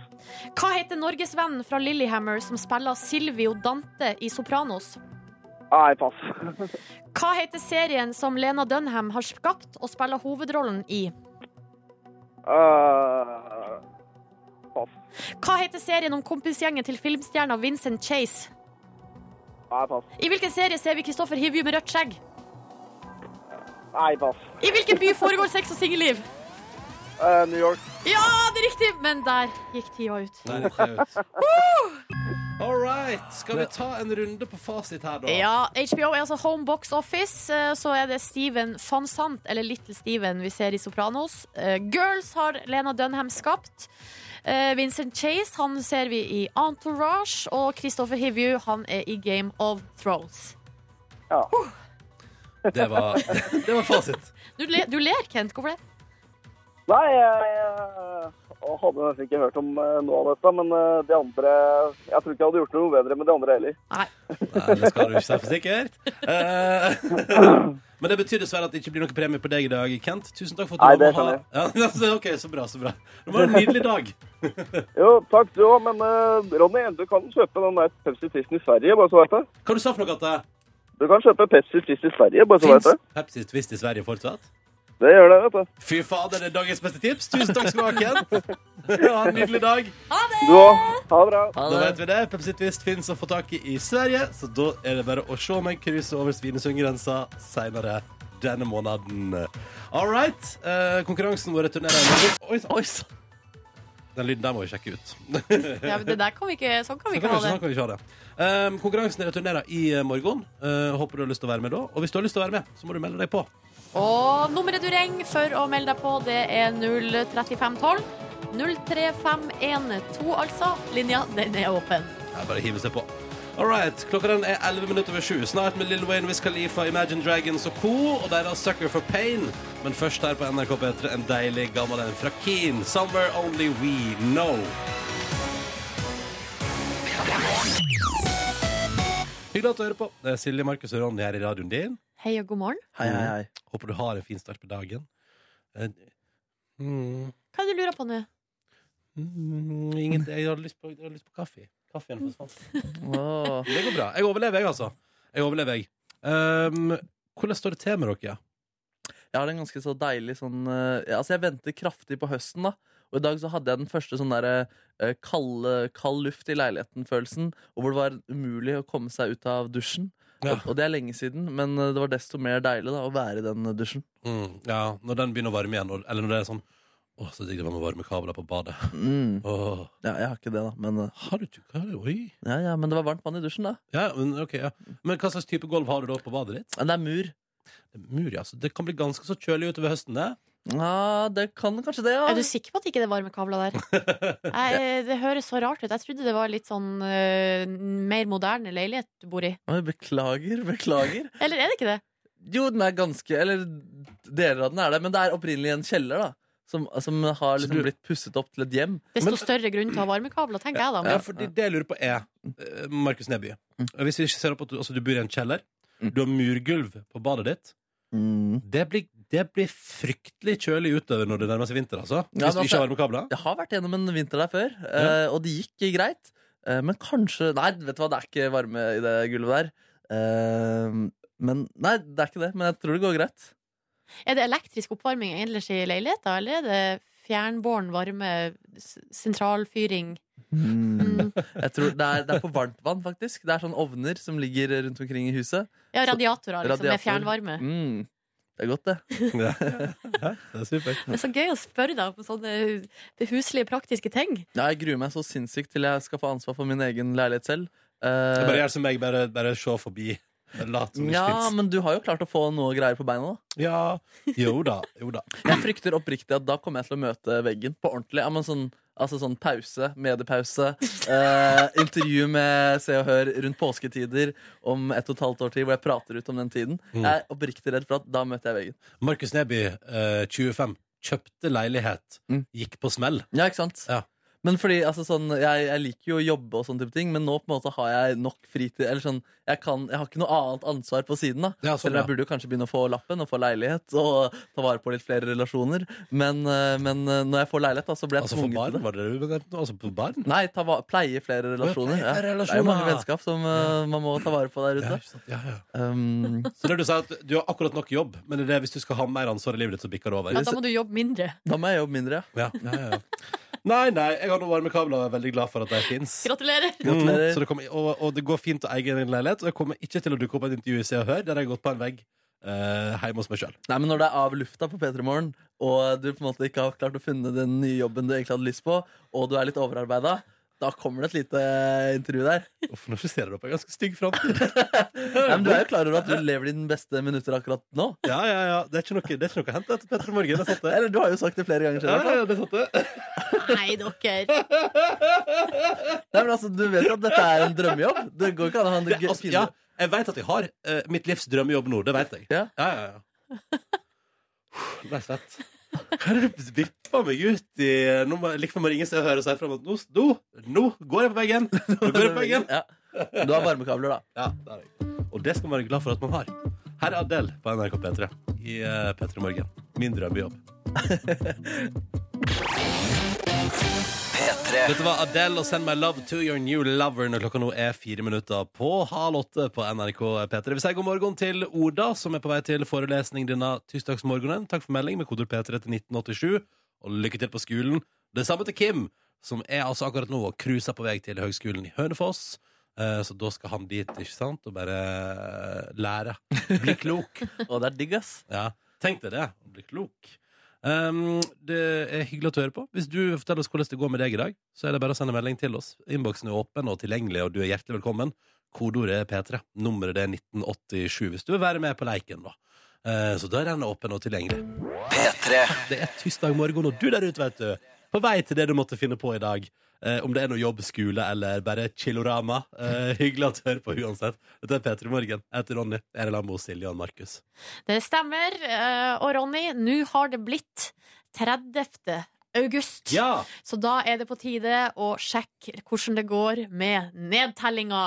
C: Hva heter norgesvennen fra Lillehammer som spiller Silvio Dante i Sopranos?
E: Nei, pass.
C: Hva heter serien som Lena Dunham har skapt og spiller hovedrollen i?
E: Eh, pass.
C: Hva heter serien om kompisgjengen til filmstjerna Vincent Chase?
E: Nei, pass.
C: I hvilken serie ser vi Kristoffer Hivju med rødt skjegg?
E: Nei, pass.
C: I hvilken by foregår sex og singelliv?
E: Eh, New York.
C: Ja, det er riktig! Men der gikk tida ut.
B: Der gikk jeg ut. All right. Skal vi ta en runde på fasit her, da?
C: Ja, HBO er altså Home Box Office. eh, Så er det Steven van Sant, eller Little Steven, vi ser i Sopranos. Eh, Girls har Lena Dunham skapt. Eh, Vincent Chase han ser vi i Entourage. Og Christopher Hivju han er i Game of Thrones.
B: Det, var, det var fasit.
C: Du, le, du ler, Kent. Hvorfor det?
E: Nei, jeg, jeg jeg hadde nesten ikke hørt om eh, noe av dette, men eh, de andre Jeg tror ikke jeg hadde gjort noe bedre med de andre heller.
B: Nei, det skal du ikke si for sikkert. Eh, Men det betyr dessverre at det ikke blir noen premie på deg i dag, Kent. Tusen takk for
E: Nei,
B: at du
E: det
B: var med. Ja, altså, OK, så bra, så bra. Det var en nydelig dag.
E: Jo, takk du òg, men eh, Ronny, du kan kjøpe den der Pepsi Twisten i Sverige, bare så veit du.
B: Hva du sa du for noe, Atte?
E: Du kan kjøpe Pepsi Twist i Sverige, bare så veit
B: Fins
E: du.
B: Pepsi Twist i Sverige fortsatt?
E: Det gjør det, vet du.
B: Fy fader, det er dagens beste tips. Tusen takk skal du ha, Kent. Ha en nydelig dag.
E: Du òg. Ha det bra.
B: Da
D: Ha det.
B: vet vi det. Pepsi Twist fins å få tak i i Sverige, så da er det bare å se om en cruiser over Svinesundgrensa seinere denne måneden. All right. eh, konkurransen vår returnerer i morgen. Oi sann.
D: Oi sann!
B: Den lyden der må vi sjekke ut.
C: Ja, men det der kan vi ikke, sånn kan
B: Sånn kan vi
C: vi ikke ha
B: ikke- sånn
C: det.
B: kan vi ikke ha det. Um, konkurransen returnerer i eh, morgen. Eh, håper du har lyst til å være med da. Og hvis du har lyst til å være med, så må du melde deg på.
C: Og nummeret du ringer for å melde deg på, det er 03512. 03512, altså. Linja, den er åpen.
B: Det er bare å hive seg på. All right, Klokka den er 11 minutter over sju. Snart med Lil Wayne, Wiz Khalifa, Imagine Dragons og co. Og deres Sucker for Pain. Men først her på NRK P3 en deilig gammel en fra Keen. Somewhere Only We Know. Hyggelig at du hører på. Det er Silje, Markus og Ronny her i radioen din.
C: Hei og god morgen.
D: Hei, hei, hei.
B: Håper du har en fin start på dagen. Eh, Mm,
C: Hva er det du lurer på nå?
B: mm, ingen, jeg hadde lyst på, jeg hadde lyst på kaffe. Kaffen forsvant.
D: Åh.
B: Det går bra. Jeg overlever, jeg, altså. Jeg overlever, jeg. Ehm, hvordan står det til med dere?
D: Jeg har en ganske så deilig sånn eh, Altså, jeg venter kraftig på høsten, da. Og i dag så hadde jeg den første sånn derre eh, kald, kald luft i leiligheten-følelsen. Og hvor det var umulig å komme seg ut av dusjen.
B: Ja.
D: Og, og det er lenge siden, men eh, det var desto mer deilig da å være i den dusjen.
B: Mm, ja, når den begynner å varme igjen, og- eller når det er sånn Å, så digg det var med varme kabler på badet.
D: Mm.
B: Åh.
D: Ja, jeg har ikke det, da. Men, eh,
B: Har du ikke hva er det? Oi.
D: ja, ja, men det var varmt vann i dusjen, da.
B: Ja, men, ok, ja. men hva slags type gulv har du da på badet ditt?
D: Men det er mur.
B: Det er Mur, ja. Så det kan bli ganske så kjølig utover høsten, det.
D: Ja, det kan kanskje det, ja.
C: Er du sikker på at ikke det er varmekabler der? Nei, det høres så rart ut. Jeg trodde det var litt sånn eh, mer moderne leilighet du bor i.
D: Oi, Beklager, beklager.
C: Eller er det ikke det?
D: Jo, den er ganske Eller deler av den er det, men det er opprinnelig en kjeller, da. Som, som har
B: Så du-
D: liksom blitt pusset opp til et hjem.
C: Desto
B: Men-
C: større grunn til å ha varmekabler, tenker jeg
B: Ja,
C: da.
B: Mm.
C: Men,
B: for det, det jeg lurer på er eh, Markus Neby. Hvis vi ikke ser opp at du, altså, du bor i en kjeller,
D: Mm.
B: du har murgulv på badet ditt. Det blir, det blir fryktelig kjølig utover når det nærmer seg vinter, altså.
D: Ja,
B: Hvis du ikke
D: men altså-
B: har varmekabler.
D: Jeg har vært gjennom en vinter der før, eh, og det gikk greit. Eh, Men kanskje Nei, vet du hva, det er ikke varme i det gulvet der. Eh, Men Nei, det er ikke det, men jeg tror det går greit.
C: er det elektrisk oppvarming ellers i leiligheter, eller er det fjernbåren varme, s- sentralfyring? Mm.
D: Jeg tror det er, det er på varmtvann, faktisk. Det er sånn ovner som ligger rundt omkring i huset.
C: Ja, radiatorer, liksom,
D: Radiator.
C: med fjernvarme.
D: Mm. Det er godt, det.
B: Ja. det er supert.
C: Det er så gøy å spørre deg om sånne det huslige, praktiske ting.
D: Ja, jeg gruer meg så sinnssykt til jeg skal få ansvar for min egen leilighet selv. Eh,
B: Bare gjør som meg, bare, bare se forbi. Bare Lat som det ikke
D: ja,
B: finnes.
D: men du har jo klart å få noe greier på beina, da.
B: Ja. Jo da. Jo da.
D: Jeg frykter oppriktig at da kommer jeg til å møte veggen på ordentlig. Ja, men sånn, altså sånn pause, mediepause, eh, intervju med Se og Hør rundt påsketider om ett og et halvt år til, hvor jeg prater ut om den tiden.
B: Mm.
D: Jeg er oppriktig redd for at da møter jeg veggen.
B: Markus Neby, eh, 25, kjøpte leilighet,
D: Mm.
B: gikk på smell.
D: Ja, ikke sant?
B: Ja.
D: Men fordi, altså sånn, jeg, jeg liker jo å jobbe og sånne type ting, men nå på en måte har jeg nok fritid. Eller sånn, jeg, kan, jeg har ikke noe annet ansvar på siden, da.
B: Ja, sånn,
D: Selv om jeg
B: ja.
D: burde jo kanskje begynne å få lappen og få leilighet og ta vare på litt flere relasjoner. Men, eh, men eh, når jeg får leilighet, da, så blir jeg
B: Altså for
D: tvunget til
B: barn,
D: det.
B: var det det du bestemte? Altså på barn?
D: Nei, ta va pleie flere relasjoner.
B: pleie
D: Ja.
B: flere
D: Det er jo mange
B: relasjoner.
D: vennskap som eh, man må ta vare på der
B: Ja,
D: ute.
B: ikke sant? ja, ja.
D: Um,
B: Så det du sier at du har akkurat nok jobb, men det er det, hvis du skal ha mer ansvar i livet ditt, så bikker det over.
C: Ja, da må du jobbe mindre.
D: da må jeg jobbe mindre, ja.
B: Ja, ja, ja. Nei, nei, jeg har noen varmekabler og jeg er veldig glad for at de fins.
C: Gratulerer!
D: Gratulerer.
B: Mm-hmm. Så det kommer, og, og det går fint å eie egen leilighet, og jeg kommer ikke til å dukke opp i et intervju i Se og Hør der jeg har gått på en vegg eh, hjemme hos meg sjøl.
D: Nei, men Når det er av lufta på P3 Morgen, og du på en måte ikke har klart å finne den nye jobben du egentlig hadde lyst på, og du er litt overarbeida, da kommer det et lite eh, intervju der.
B: Uff, nå skisserer du opp en ganske stygg framtid.
D: Nei, men Du er jo klar over at du lever dine beste minutter akkurat nå?
B: Ja, ja, ja. Det er ikke noe, det er ikke noe å hente etter Petter Morgen. Det er sant, det.
D: Eller du har jo sagt det flere ganger.
B: Ja,
D: selv, i hvert fall.
B: ja, det er sant, det.
C: Nei, dere.
D: Nei, men altså, Du vet jo at dette er en drømmejobb. Det går ikke an å ha en
B: det
D: gøy-
B: altså,
D: fin-
B: ja, jeg veit at jeg har eh, mitt livs drømmejobb nå. Det veit jeg.
D: Ja.
B: Ja, ja, ja. Det ble svett. Hva er det du vipper meg ut i Nå må, liksom må ringe seg og høre seg fram at nå, nå, nå går jeg på veggen! Nå går jeg på veggen.
D: Ja. Du har varmekabler, da.
B: Ja, det er jeg. Og det skal man være glad for at man har. Her er Adele på NRK P3 i eh, P3 Morgen. Min drømmejobb.
A: P3.
B: Dette var Adele og Send My Love To Your New Lover når klokka nå er fire minutter på halv åtte på NRK P3. Vi sier god morgen til Oda, som er på vei til forelesning denne tirsdagsmorgenen. Takk for melding med kodeord P3 til 1987, og lykke til på skolen. Det samme til Kim, som er altså akkurat nå og cruiser på vei til Høgskolen i Hønefoss. Eh, Så da skal han dit, ikke sant, og bare eh, lære. Bli klok.
D: Og det er digg, ass.
B: Ja, tenk deg det. Bli klok. Um, det er hyggelig at du hører på. Hvis du forteller oss hvordan det går med deg i dag, så er det bare å sende melding til oss. Innboksen er åpen og tilgjengelig, og du er hjertelig velkommen. Kodeordet er P3. Nummeret det er 1987 hvis du vil være med på leiken, da. Eh, så da er den åpen og tilgjengelig.
A: P3.
B: Det er tirsdag morgen, og du der ute, vet du, på vei til det du måtte finne på i dag. Eh, om det er noe jobb, skole eller bare chillorama. Eh, hyggelig at du hører på uansett. Dette er P3 Morgen. Jeg heter Ronny. Jeg er i lag med Silje og Markus.
C: Det stemmer. Eh, Og Ronny, nå har det blitt 30. august.
B: Ja!
C: Så da er det på tide å sjekke hvordan det går med nedtellinga.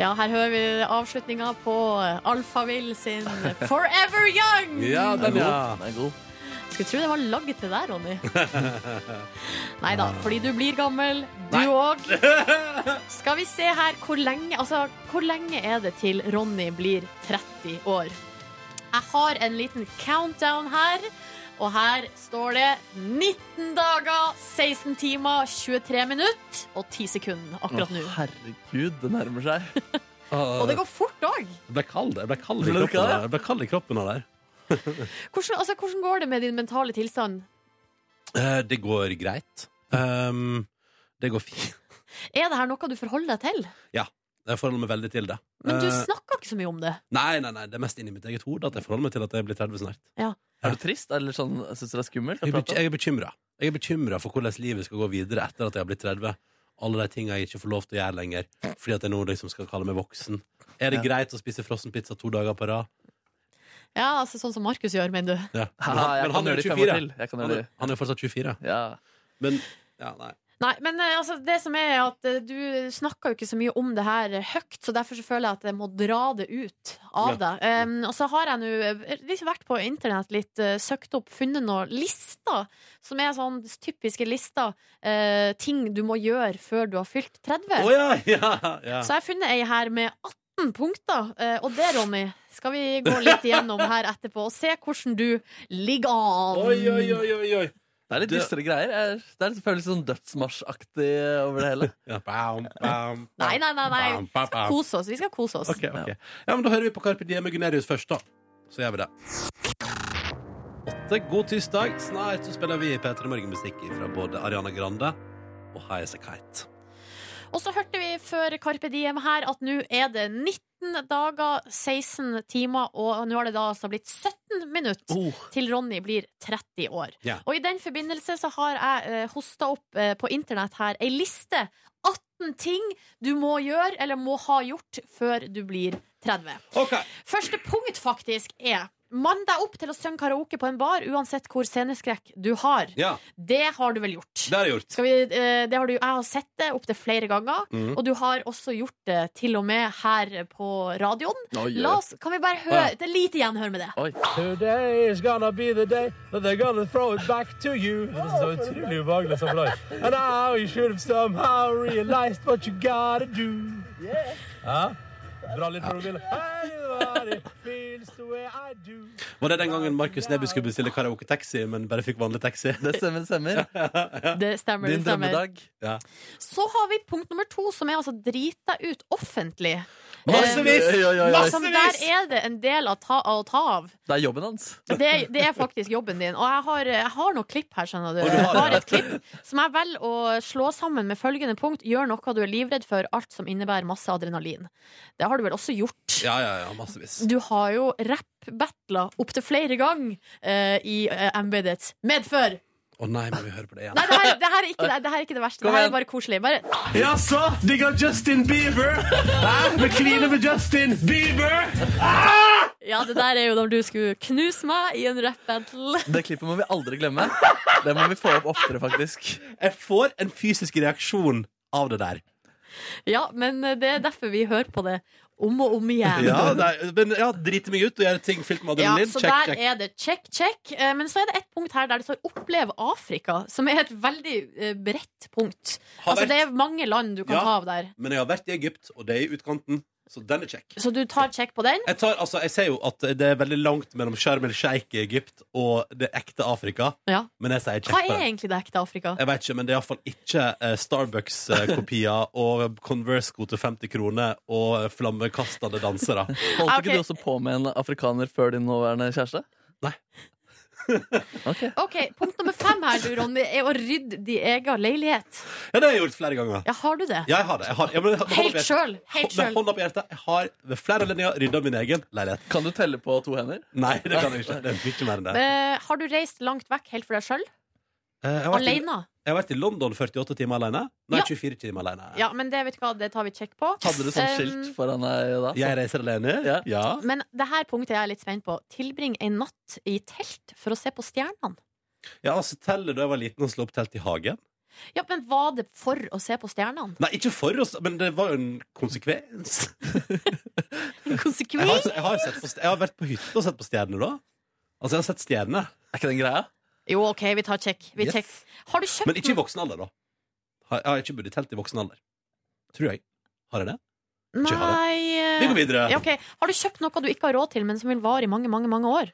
C: Ja, her hører vi avslutninga på Alphaville sin Forever Young.
B: Ja, den,
D: god.
B: ja.
D: Den er god.
C: Skulle tro det var laget til deg, Ronny. Nei da, fordi du blir gammel,
B: Ah.
C: du
B: Nei.
C: òg. Skal vi se her hvor lenge Altså, hvor lenge er det til Ronny blir 30 år? Jeg har en liten countdown her. Og her står det 19 dager, 16 timer, 23 minutter og 10 sekunder akkurat nå.
D: Å, herregud, det nærmer seg.
C: Og det går fort òg.
B: Jeg ble kald. Jeg ble kald i
D: Ble du
B: kroppen av
D: kald?
B: det. Jeg ble kald i kroppen av det. her.
C: Hvordan, altså, hvordan går det med din mentale tilstand?
B: Eh, Ehm, Det går greit. Um, det går fint.
C: Er det her noe du forholder deg til?
B: Jeg forholder meg veldig til det.
C: Men du
B: Eh,
C: snakker ikke så mye om det.
B: nei, nei, nei, det er mest inni mitt eget hode at jeg forholder meg til at jeg blir 30 snart.
D: Er du trist? Eller sånn, syns du det er skummelt? å
B: Jeg, er
D: prate
B: bekym-
D: om?
B: jeg er bekymra. Jeg er bekymra for hvordan livet skal gå videre etter at jeg har blitt 30. Alle de tinga jeg ikke får lov til å gjøre lenger, fordi at jeg nå liksom skal kalle meg voksen. Er det
D: Ja.
B: greit å spise frossenpizza to dager på rad?
C: Ja, altså Sånn som Markus gjør, mener du.
B: Ja.
D: Haha,
B: Men han-
D: jeg
B: men
D: kan
B: han er
D: gjøre det i
B: jo
D: fem år
B: 24.
D: til. Jeg kan
B: Han
D: gjøre
B: er,
D: det.
B: han er fortsatt 24.
D: Ja.
B: Men ja, nei.
C: Nei, men eh, altså, det som er at eh, du snakker jo ikke så mye om det her eh, høyt, så derfor så føler jeg at jeg må dra det ut av
B: Ja.
C: deg. Um, og så har jeg nå eh, liksom vært på internett litt, eh, søkt opp, funnet noen lister, som er sånn typiske lister, eh, ting du må gjøre før du har fylt 30.
B: Å ja, ja, ja.
C: Så jeg har funnet ei her med 18 punkter, eh, og det, Ronny, skal vi gå litt igjennom her etterpå og se hvordan du ligger an.
B: Oi, oi, oi, oi, oi.
D: Det er litt
B: Det-
D: dystre greier. Jeg- Det er litt- føles litt sånn dødsmarsjaktig over det hele.
B: Ja. Bam, bam,
C: Nei, nei, nei, nei.
B: bam, bam, bam.
C: Kos oss. Vi skal kose oss.
B: Ok, ok. Ja, men da hører vi på Carpe Diem med Gunerius først, da. Så gjør vi det. Åtte, god tirsdag. Snart så spiller vi P3 Morgenmusikk fra både Ariana Grande og High As A Kite.
C: Og så hørte vi før Carpe Diem her at nå er det 19 dager, 16 timer, og nå har det da altså blitt 17 minutter
D: Oh,
C: til Ronny blir 30 år.
B: Ja.
C: Og i den forbindelse så har jeg eh, hosta opp eh, på internett her ei liste. 18 ting du må gjøre eller må ha gjort før du blir 30.
B: Ok.
C: Første punkt faktisk er Mann deg opp til å synge karaoke på en bar, uansett hvor sceneskrekk du har.
B: Ja,
C: Det har du vel gjort?
B: det har jeg gjort.
C: Skal vi, eh, det har du, jeg har sett det opptil flere ganger,
B: Mhm.
C: og du har også gjort det til og med her på radioen.
D: oi,
C: La oss, kan vi bare høre
B: Ja.
C: Det er lite igjen, hør med det.
D: oi.
F: Today is gonna be the day that they're gonna throw it back to you. Det er så utrolig ubehagelig som for deg. And now you should have somehow realized what you gotta do. Ja? Dra litt på mobilen. Everybody feels the way I do.
B: Var det den gangen Markus Neby skulle bestille karaoke-taxi, men bare fikk vanlig taxi?
D: Det stemmer, det stemmer.
C: Det stemmer.
D: Din
C: det stemmer.
D: drømmedag.
C: Så har vi punkt nummer to, som er altså drit deg ut offentlig.
B: Massevis!
D: Oi, oi, oi, oi.
C: Som der er det en del av ta, å ta av.
D: Det er jobben hans.
C: Det, det er faktisk jobben din. Og jeg har, jeg har noen klipp her, skjønner du.
B: du
C: Jeg
B: har
C: har
B: det?
C: et klipp som jeg velger å slå sammen med følgende punkt. Gjør noe du er livredd for, alt som innebærer masse adrenalin. Det har du vel også gjort?
B: Ja, ja, ja, massevis.
C: Du har jo rap-battla opptil flere ganger eh, i eh, embedets medfør.
B: Å nei, må vi høre på det igjen?
C: Nei, det her, det, her er ikke, det, det her er ikke det verste. Det
D: Kom
C: her er
D: igjen.
C: bare koselig. Bare,
F: Jaså, digger Justin Bieber? Hæ? Vi kliner med Justin Bieber!
C: ja, det der er jo når du skulle knuse meg i en rap-battle.
D: Det klippet må vi aldri glemme. Det må vi få opp oftere, faktisk.
B: Jeg får en fysisk reaksjon av det der.
C: Ja, men eh, det er derfor vi hører på det om og om igjen.
B: Ja, nei, men ja, drite meg ut og gjøre ting fylt med
C: Ja,
B: adrenalin.
C: så
B: check,
C: der
B: check.
C: er det check, check. Eh, Men så er det et punkt her der det står 'opplev Afrika', som er et veldig eh, bredt punkt.
B: Har
C: Altså,
B: vært-
C: det er mange land du kan
B: Ja.
C: ta av der.
B: Men jeg har vært i Egypt, og det er i utkanten, så den er kjekk.
C: Så du tar check på den.
B: Jeg, tar, altså, jeg ser jo at det er veldig langt mellom Sharm el Sheikh i Egypt og det ekte Afrika,
C: Ja.
B: men jeg sier
C: Hva
B: kjekk på
C: er
B: den.
C: egentlig det ekte Afrika?
B: Jeg vet ikke, men det er iallfall ikke eh, Starbucks-kopier eh, og Converse-sko til 50 kroner og flammekastende dansere.
D: Holdt
C: Ah, ok.
D: ikke du også på med en afrikaner før din nåværende kjæreste?
B: Nei.
D: Ok.
C: Ok, Punkt nummer fem her, du, Ronny, er å rydde din egen leilighet.
B: Ja, det har jeg gjort flere ganger.
C: Ja, Har du det?
B: Ja, jeg har det. Jeg har, ja, men, med hånda på
C: Helt
B: hjertet-
C: sjøl. Helt
B: Med
C: sjøl.
B: hånda på hjertet, jeg har ved flere anledninger rydda min egen leilighet.
D: Kan du telle på to hender?
B: Nei, det kan jeg ikke. Det er mye mer enn det.
C: Eh, har du reist langt vekk helt for deg sjøl?
B: Eh, Jeg har vært i,
C: Alene?
B: jeg har vært i London 48 timer alene. Nei,
C: Ja.
B: 24 timer alene.
C: Ja, men det vet du hva, det tar vi check på.
D: Hadde du sånn
C: Um,
D: skilt foran deg da?
B: Jeg reiser alene.
D: Ja.
B: ja.
C: Men det her punktet jeg er litt spent på. Tilbring en natt i telt for å se på stjernene.
B: Ja, altså tellet da jeg var liten og slo opp telt i hagen.
C: Ja, Men var det for å se på stjernene?
B: Nei, ikke for oss, men det var jo en konsekvens. Jeg har,
C: Konsekvens?
B: jeg har, sett på, st- jeg har vært på hytta og sett på stjerner da. Altså, jeg har sett stjerner.
D: Er ikke den greia?
C: Jo, OK, vi tar check. Vi
B: Yes.
C: check. Har du kjøpt
B: Men ikke i voksen alder, da. Har- Jeg har ikke bodd i telt i voksen alder. Tror jeg. Har jeg det? ikke ha
C: Nei
B: Vi går
C: eh,
B: videre.
C: ja, ok. Har du kjøpt noe du ikke har råd til, men som vil vare i mange, mange, mange år?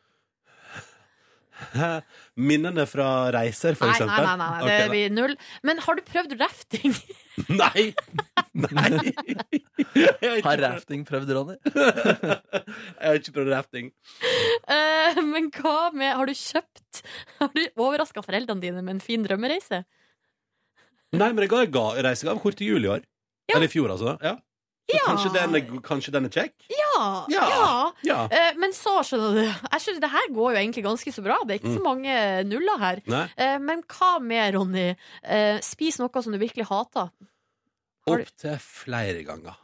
B: Minnene fra reiser, for
C: Nei, nei,
B: eksempel.
C: nei, nei, nei, det blir null. Men har du prøvd rafting?
B: nei. nei. Jeg har ikke
D: Har
B: prøvd-
D: rafting prøvd, Ronny?
B: jeg har ikke prøvd rafting.
C: Eh, men hva med Har du kjøpt Har du overraska foreldrene dine med en fin drømmereise?
B: Nei, men jeg ga, jeg ga reisegavekort i jul i år.
C: Ja.
B: Eller i fjor, altså. Ja. Så
C: Ja.
B: kanskje den er, kanskje den er kjekk?
C: Ja,
B: Ja.
C: ja.
B: Ja.
C: Eh, Men så skjønner du Jeg skjønner, Det her går jo egentlig ganske så bra. Det er ikke
B: Mm.
C: så mange nuller her.
B: Nei.
C: Eh, Men hva med, Ronny? Eh, Spis noe som du virkelig hater. Har du-
B: Opp til flere ganger.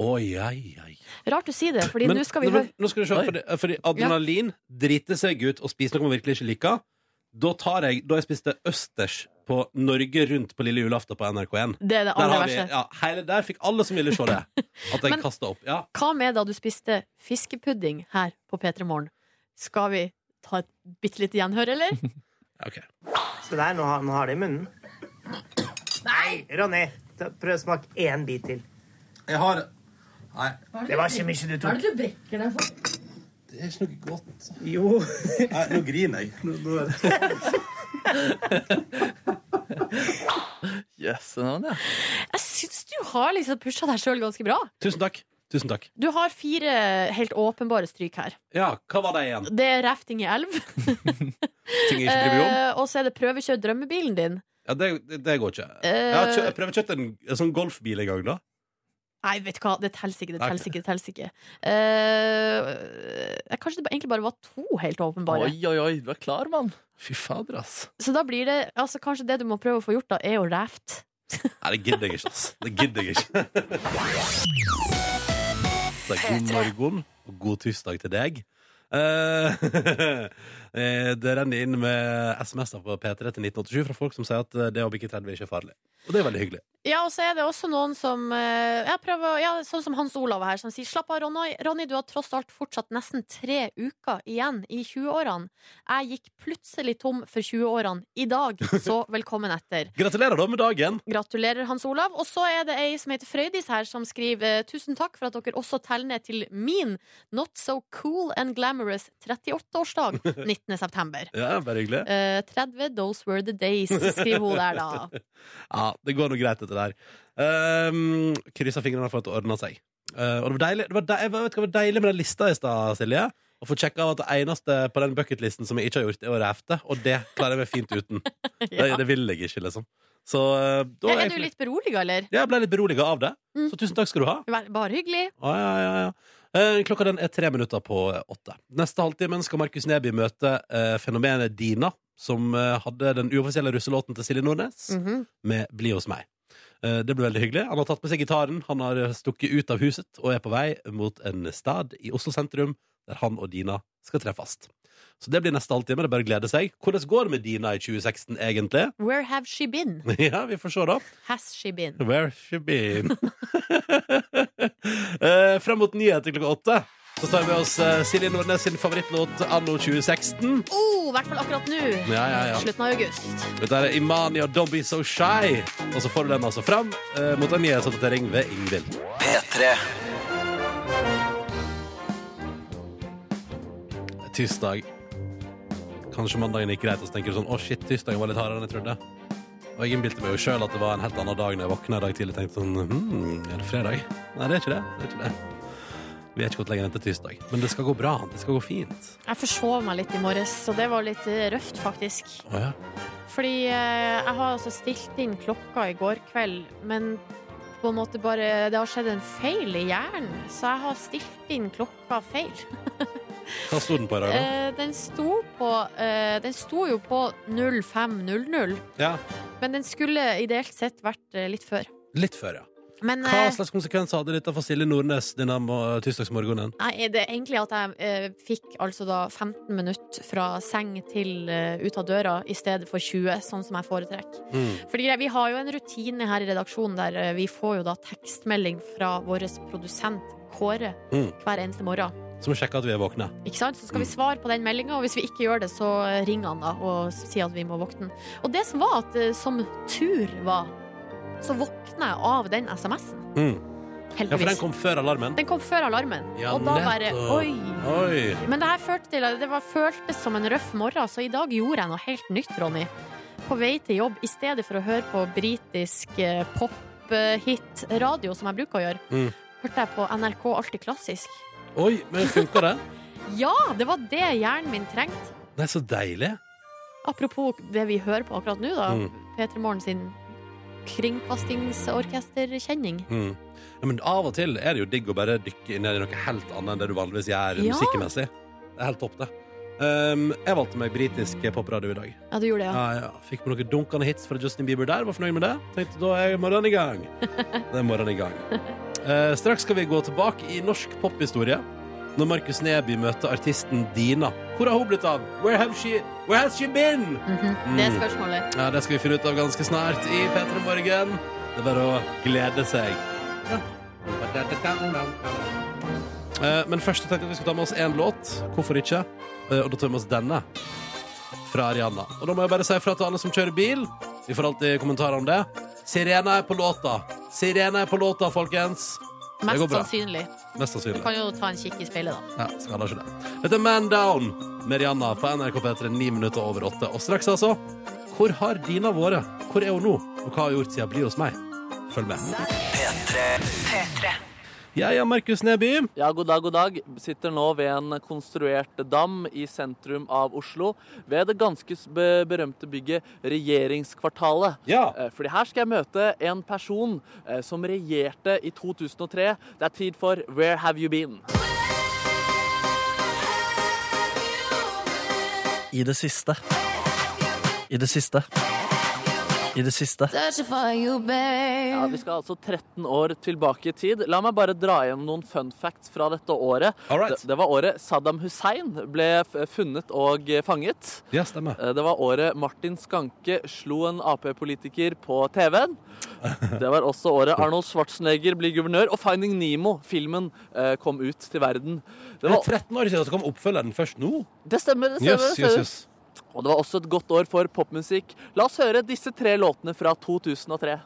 B: Oi, oi, oi.
C: Rart du sier det, Fordi
B: Men-
C: nå skal vi
B: men-
C: høre
B: Nå skal du se,
D: Oi.
B: fordi, fordi adrenalin driter seg ut og spiser noe man virkelig ikke liker. Da, tar jeg, da jeg spiste østers på Norge Rundt på lille julaften på NRK1
C: Det er det
B: der,
C: aller
B: har vi,
C: verste.
B: ja, hele der fikk alle som ville se det, at jeg
C: Men-
B: kasta opp. Ja.
C: Hva med da du spiste fiskepudding her på P3 Morgen? Skal vi ta et bitte lite gjenhør, eller?
B: ok.
G: Se der, nå har, nå har det i munnen. Nei! Ronny, ta- prøv å smake én bit til.
B: Jeg har
G: Det var ikke mye du tok.
H: du brekker deg for?
B: Det er ikke noe godt.
G: Jo.
B: nå griner jeg.
D: Yes, den var den, ja.
C: Jeg syns du har liksom pusha deg sjøl ganske bra.
B: Tusen takk. Tusen takk.
C: Du har fire helt åpenbare stryk her.
B: Ja, hva var det igjen?
C: Det er rafting i elv,
B: Ting jeg ikke bryr meg om?
C: eh, og så er det prøvekjør drømmebilen din.
B: Ja, det, det, det går ikke.
C: Eh,
B: Jeg har kjø, jeg prøver kjøpt en, en sånn golfbil en gang, da.
C: Nei, vet du hva, det teller ikke. Det
B: Ok.
C: teller ikke, det teller ikke. Eh, jeg- kanskje det egentlig bare var to helt åpenbare.
D: Oi, oi, oi, du er klar, mann. Fy fader, ass.
C: Så da blir det altså, Kanskje det du må prøve å få gjort, da, er å rafte.
B: Nei, det gidder jeg ikke, ass. Det gidder jeg ikke. Så god morgen og god tirsdag til deg. Eh, eh, det renner inn med SMS-er på P3 til 1987 fra folk som sier at eh, det å bikke 30 er ikke farlig. Og det er veldig hyggelig.
C: Ja, og så er det også noen som eh, jeg prøver, ja, Sånn som Hans Olav her, som sier Slapp av, Ronny, Ronny du har tross alt fortsatt nesten tre uker igjen i 20-årene. Jeg gikk plutselig tom for 20-årene. I dag, så velkommen etter.
B: Gratulerer da med dagen.
C: Gratulerer, Hans Olav. Og så er det ei som heter Frøydis her, som skriver eh, Tusen takk for at dere også teller ned til min not so cool and glamorous 38-årsdag 19. september.
B: Ja, bare hyggelig.
C: Eh, 30 those were the days, skriver hun der, da.
B: Ja, det går noe greit dette der. Um, Kryssa fingrene for at det ordner seg. Eh, og det var deilig, det var deilig, vet du hva, det var deilig med den lista i stad, Silje. Å få sjekka av at det eneste på den bucketlisten som jeg ikke har gjort, er å rafte. Og det klarer jeg meg fint uten. det,
C: Ja.
B: det vil jeg ikke, liksom. Så eh, da
C: Ja,
B: jeg-
C: er du litt beroliga, eller?
B: Ja, jeg ble litt beroliga av det.
C: Mm.
B: Så tusen takk skal du ha.
C: Vær- Bare hyggelig.
B: Ja, ja, ja, ja. Eh, Klokka den er tre minutter på åtte. Neste halvtimen skal Markus Neby møte eh, fenomenet Dina, som eh, hadde den uoffisielle russelåten til Silje Nordnes
C: Mhm.
B: med Bli hos meg. Eh, Det ble veldig hyggelig. Han har tatt med seg gitaren, han har eh, stukket ut av huset og er på vei mot en stad i Oslo sentrum der han og Dina skal treffes. Så det blir neste halvtime. Det er bare å glede seg. Hvordan går det med Dina i 2016, egentlig?
C: Where have she been?
B: Ja, vi får se, da.
C: Has she been?
B: Where she been? Eh, Frem mot nyheter klokka åtte. Så tar vi med oss eh, Silje Nordnes sin favorittlåt anno 2016.
C: Oh, i hvert fall akkurat nå.
B: Ja, ja, ja.
C: Slutten av august.
B: Dette er Imani og Don't Be So Shy. Og så får du den altså fram eh, mot en nyhetsoppdatering ved Ingvild.
A: P3.
B: Tirsdag. Kanskje mandagen gikk greit, og så tenker du sånn Å, shit, tirsdagen var litt hardere enn jeg trodde. Og jeg innbilte meg jo sjøl at det var en helt annen dag når jeg våkna i dag tidlig og tenkte sånn Hm, er det fredag? Nei, det er ikke det. det, er ikke det. Vi er ikke gått lenger enn til tirsdag. Men det skal gå bra. Det skal gå fint.
C: Jeg forsov meg litt i morges, så det var litt eh, røft, faktisk.
B: Å ja.
C: Fordi eh, jeg har altså stilt inn klokka i går kveld, men på en måte bare Det har skjedd en feil i hjernen, så jeg har stilt inn klokka feil.
B: Hva sto den på i dag, da?
C: Eh, den sto på eh, Den sto jo på 05.00,
B: Ja.
C: men den skulle ideelt sett vært eh, litt før.
B: Litt før, ja.
C: Men
B: Hva
C: eh,
B: slags konsekvenser hadde dette for Silje Nordnes denne mo- tirsdagsmorgenen?
C: Nei, det er egentlig at jeg eh, fikk altså da 15 minutter fra seng til eh, ut av døra i stedet for 20, sånn som jeg foretrekker.
B: Mm.
C: Fordi vi har jo en rutine her i redaksjonen der eh, vi får jo da tekstmelding fra vår produsent Kåre
B: Mm.
C: hver eneste morgen.
B: Som sjekker at vi er våkne.
C: Ikke sant? Så skal vi svare på den meldinga, og hvis vi ikke gjør det, så eh, ringer han da og s- sier at vi må våkne. Og det som var at eh, som tur var, så våkna jeg av den SMS-en.
B: Mm. Ja, for den
C: Heldigvis.
B: kom før alarmen.
C: Den kom før alarmen,
B: Ja,
C: og da bare
B: nettopp.
C: Oi!
B: Oi!
C: Men det her førte til at det var, føltes som en røff morgen, så i dag gjorde jeg noe helt nytt, Ronny. På vei til jobb, i stedet for å høre på britisk eh, pop-hit-radio, som jeg bruker å gjøre,
B: Mm.
C: hørte jeg på NRK Alltid Klassisk.
B: Oi, men funka det?
C: Ja, det var det hjernen min trengte.
B: Det er så deilig.
C: Apropos det vi hører på akkurat nå, da.
B: Mm.
C: P3 Morgen sin kringkastingsorkesterkjenning.
B: Mm. Ja, men av og til er det jo digg å bare dykke ned i noe helt annet enn det du vanligvis gjør
C: Ja.
B: musikkmessig. Det er helt topp, det. Um, jeg valgte meg britisk popradio i dag.
C: Ja, du gjorde det,
B: Ja,
C: ja.
B: ja. Fikk på noen dunkende hits fra Justin Bieber der. Var fornøyd med det. Tenkte da er morgenen i gang. Det er morgenen i gang. Eh, straks skal vi gå tilbake i norsk pophistorie. Når Markus Neby møter artisten Dina. Hvor har hun blitt av? Where, have she, where has she been?
C: Mhm. Det er spørsmålet.
B: Ja, Mm. Det skal vi finne ut av ganske snart i P3 Morgen. Det er bare å glede seg. Eh, Men først tenkte jeg at vi skulle ta med oss én låt. Hvorfor ikke? Eh, Og da tar vi med oss denne. Fra Arianna. Og da må jeg bare si fra til alle som kjører bil. Vi får alltid kommentarer om det. Sirena er på låta. Sirena er på låta, folkens. Det går
C: Mest
B: bra.
C: sannsynlig.
B: Mest sannsynlig.
C: Kan jo ta en kikk i speilet, da.
B: Ja, skal da ikke det. Dette er Man Down med Rihanna på NRK P3 ni minutter over åtte. Og straks, altså. Hvor har Dina vært? Hvor er hun nå? Og hva har hun gjort siden Bli hos meg? Følg med. Jeg er Markus Neby.
D: Ja, god dag, god dag. Sitter nå ved en konstruert dam i sentrum av Oslo. Ved det ganske s- be- berømte bygget Regjeringskvartalet.
B: Ja.
D: Eh, Fordi her skal jeg møte en person eh, som regjerte i 2003. Det er tid for Where Have You Been? I det siste. I det siste. I det siste. Ja, Vi skal altså 13 år tilbake i tid. La meg bare dra igjen noen fun facts fra dette året.
B: All right.
D: Det, det var året Saddam Hussein ble f- funnet og eh, fanget.
B: Ja, stemmer.
D: Eh, Det var året Martin Skanke slo en Ap-politiker på TV-en. Det var også året Arnold Schwarzenegger ble guvernør, og Finding Nemo, filmen, eh, kom ut til verden. Det,
B: Det er
D: var,
B: 13 år siden, så kom oppfølgeren først nå.
D: det stemmer, det stemmer.
B: Jøss,
D: det
B: jøss,
D: stemmer.
B: jøss.
D: Og det var også et godt år for popmusikk. La oss høre disse tre låtene fra 2003.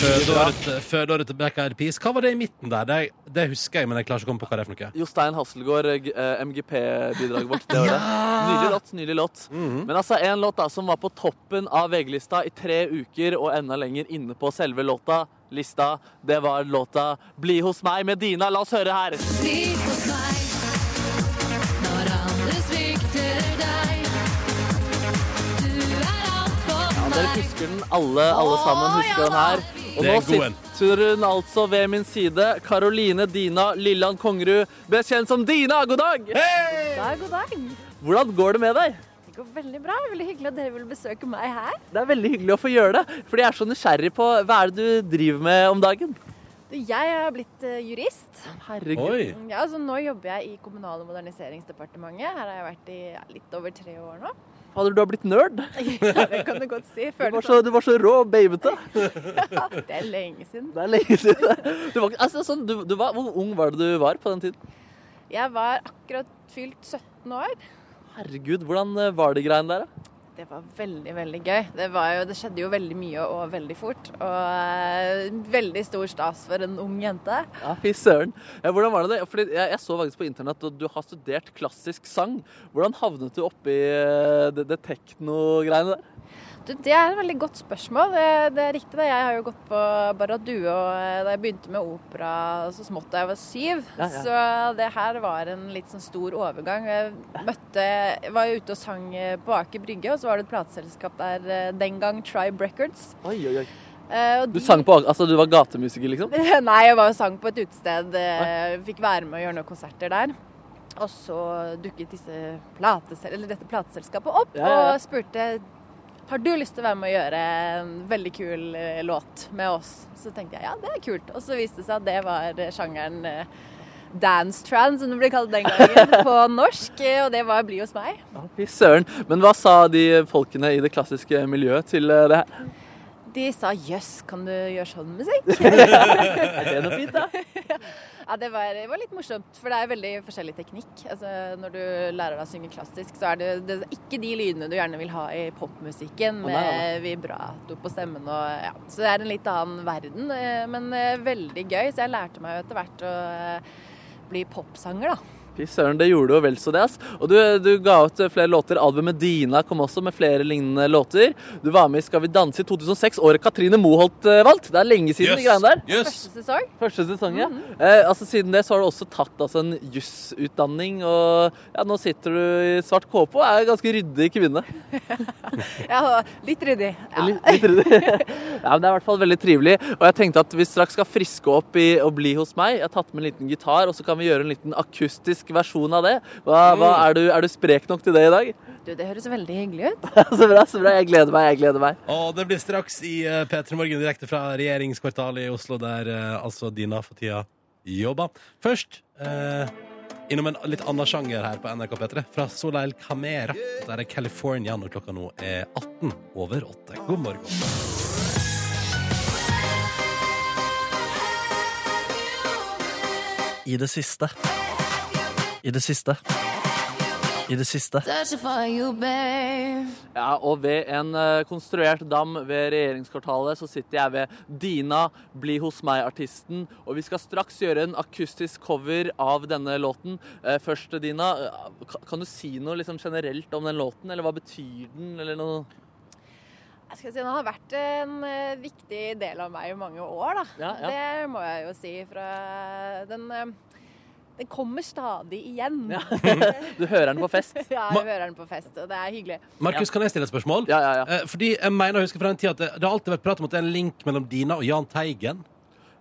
B: Fødeåret fødeåret til Black Eyed Peas. Hva var det i midten der? Det, det husker jeg, men jeg klarer ikke å komme på hva det er for noe.
D: Jostein Hasselgaard, eh, MGP-bidraget vårt det året. Nydelig låt. nydelig låt. Men altså, en låt da, som var på toppen av VG-lista i tre uker og enda lenger inne på selve låta, lista, det var låta 'Bli hos meg' med Dina. La oss høre her. Ja, dere husker den alle, alle sammen husker den her. Og
B: Det er
D: nå
B: en god en.
D: sitter hun altså ved min side. Karoline Dina Lilland Kongerud, best kjent som Dina. God dag!
H: dag, god dag.
D: Hvordan går det med deg?
H: Det går veldig bra. Veldig hyggelig at dere vil besøke meg her.
D: Det er veldig hyggelig å få gjøre det, fordi jeg er så nysgjerrig på hva er det du driver med om dagen.
H: Du, Jeg er blitt eh, jurist.
D: Herregud.
B: Oi.
H: Ja, altså Nå jobber jeg i Kommunal- og moderniseringsdepartementet. Her har jeg vært i ja, litt over tre år nå.
D: Fader, du har blitt nerd.
H: Ja, det kan du godt
D: Du
H: si.
D: var
H: Føles
D: så, du var så rå og babete.
H: sånn. Det er lenge siden.
D: Det er lenge siden. Du var, ikke- altså, sånn, du, du var, hvor ung var det du var på den tiden?
H: Jeg var akkurat fylt 17 år.
D: Herregud, hvordan eh, var det greiene der? da?
H: Det var veldig, veldig gøy. Det, var jo, det skjedde jo veldig mye og veldig fort. Og eh, veldig stor stas for en ung jente.
D: Ja, Fy søren. Ja, hvordan var det det? Fordi jeg, jeg så faktisk på internett at du har studert klassisk sang. Hvordan havnet du oppi eh, det, det tekno-greiene der?
H: Du, det er et veldig godt spørsmål. Det, det er riktig. det. Jeg har jo gått på Baradue, og eh, da jeg begynte med opera så smått da jeg var syv,
D: Ja, ja.
H: så det her var en litt sånn stor overgang. Jeg møtte, jeg var jo ute og sang eh, på Aker Brygge, og så var det et plateselskap der eh, den gang, Tribe Records.
D: Oi, oi, oi.
H: Eh, og
D: Du
H: de-
D: sang på Altså, du var gatemusiker, liksom?
H: Nei, jeg var jo sang på et utested. eh, Fikk være med og gjøre noen konserter der. Og så dukket disse platesel eller dette plateselskapet opp
D: Ja, ja, ja.
H: og spurte har du lyst til å være med og gjøre en veldig kul eh, låt med oss. Så tenkte jeg ja, det er kult. Og så viste det seg at det var eh, sjangeren eh, dance trans, som det ble kalt den gangen, på norsk. eh, Og det var Bli hos meg.
D: Ja, Fy søren. Men hva sa de folkene i det klassiske miljøet til eh, det her?
H: De sa jøss, kan du gjøre sånn musikk?
D: Er det noe fint, da?
H: Ja, det var, det var litt morsomt, for det er veldig forskjellig teknikk. Altså, når du lærer deg å synge klassisk, så er det, det er ikke de lydene du gjerne vil ha i popmusikken,
D: Å, nei,
H: med vibrato på stemmen og ja. Så det er en litt annen verden, eh, men eh, veldig gøy. Så jeg lærte meg jo etter hvert å eh, bli popsanger, da.
D: Fy søren, det gjorde jo vel så det, ass. Og du, du ga ut eh, flere låter. Albumet Dina kom også med flere lignende låter. Du var med i Skal vi danse i 2006, året Katrine Moholt eh, valgte. Det er lenge siden, de greiene der.
B: Jøss.
H: Første sesong.
D: Første sesong, ja. eh, altså, siden det så har du også tatt altså, en jusutdanning, og ja, nå sitter du i svart kåpe og er en ganske ryddig kvinne.
H: Ja, litt ryddig. Ja.
D: Litt, litt ryddig. ja, men det er i hvert fall veldig trivelig. Og jeg tenkte at vi straks skal friske opp i å bli hos meg. Jeg har tatt med en liten gitar, og så kan vi gjøre en liten akustisk versjon av det. Hva, hva, er, du, er du sprek nok til det i dag?
H: Du, det høres veldig hyggelig ut.
D: så bra, så bra. Jeg gleder meg, jeg gleder meg.
B: Og det blir straks i eh, P3 Morgen direkte fra regjeringskvartalet i Oslo, der eh, altså Dina for tida jobber. Først eh, innom en litt annen sjanger her på NRK P3, fra Soleil Camera. Der er California når klokka nå er 18 over 8. God morgen.
D: I det siste. I det siste. I det siste. Ja, og ved en eh, konstruert dam ved regjeringskvartalet så sitter jeg ved Dina, Bli hos meg-artisten, og vi skal straks gjøre en akustisk cover av denne låten. Eh, Først, Dina, eh, ka- kan du si noe liksom generelt om den låten, eller hva betyr den, eller noe?
H: Jeg skal si, Den har vært en eh, viktig del av meg i mange år, da.
D: Ja, ja.
H: Det må jeg jo si. Fra den, eh, den kommer stadig igjen.
D: Ja. Du hører den på fest?
H: Ja,
B: Ma-
H: jeg hører den på fest, og det er hyggelig.
B: Markus, kan jeg stille et spørsmål?
D: Ja, ja, ja.
B: Eh, Fordi jeg mener, jeg husker fra den tida at det, det har alltid vært prat om at det er en link mellom Dina og Jahn Teigen.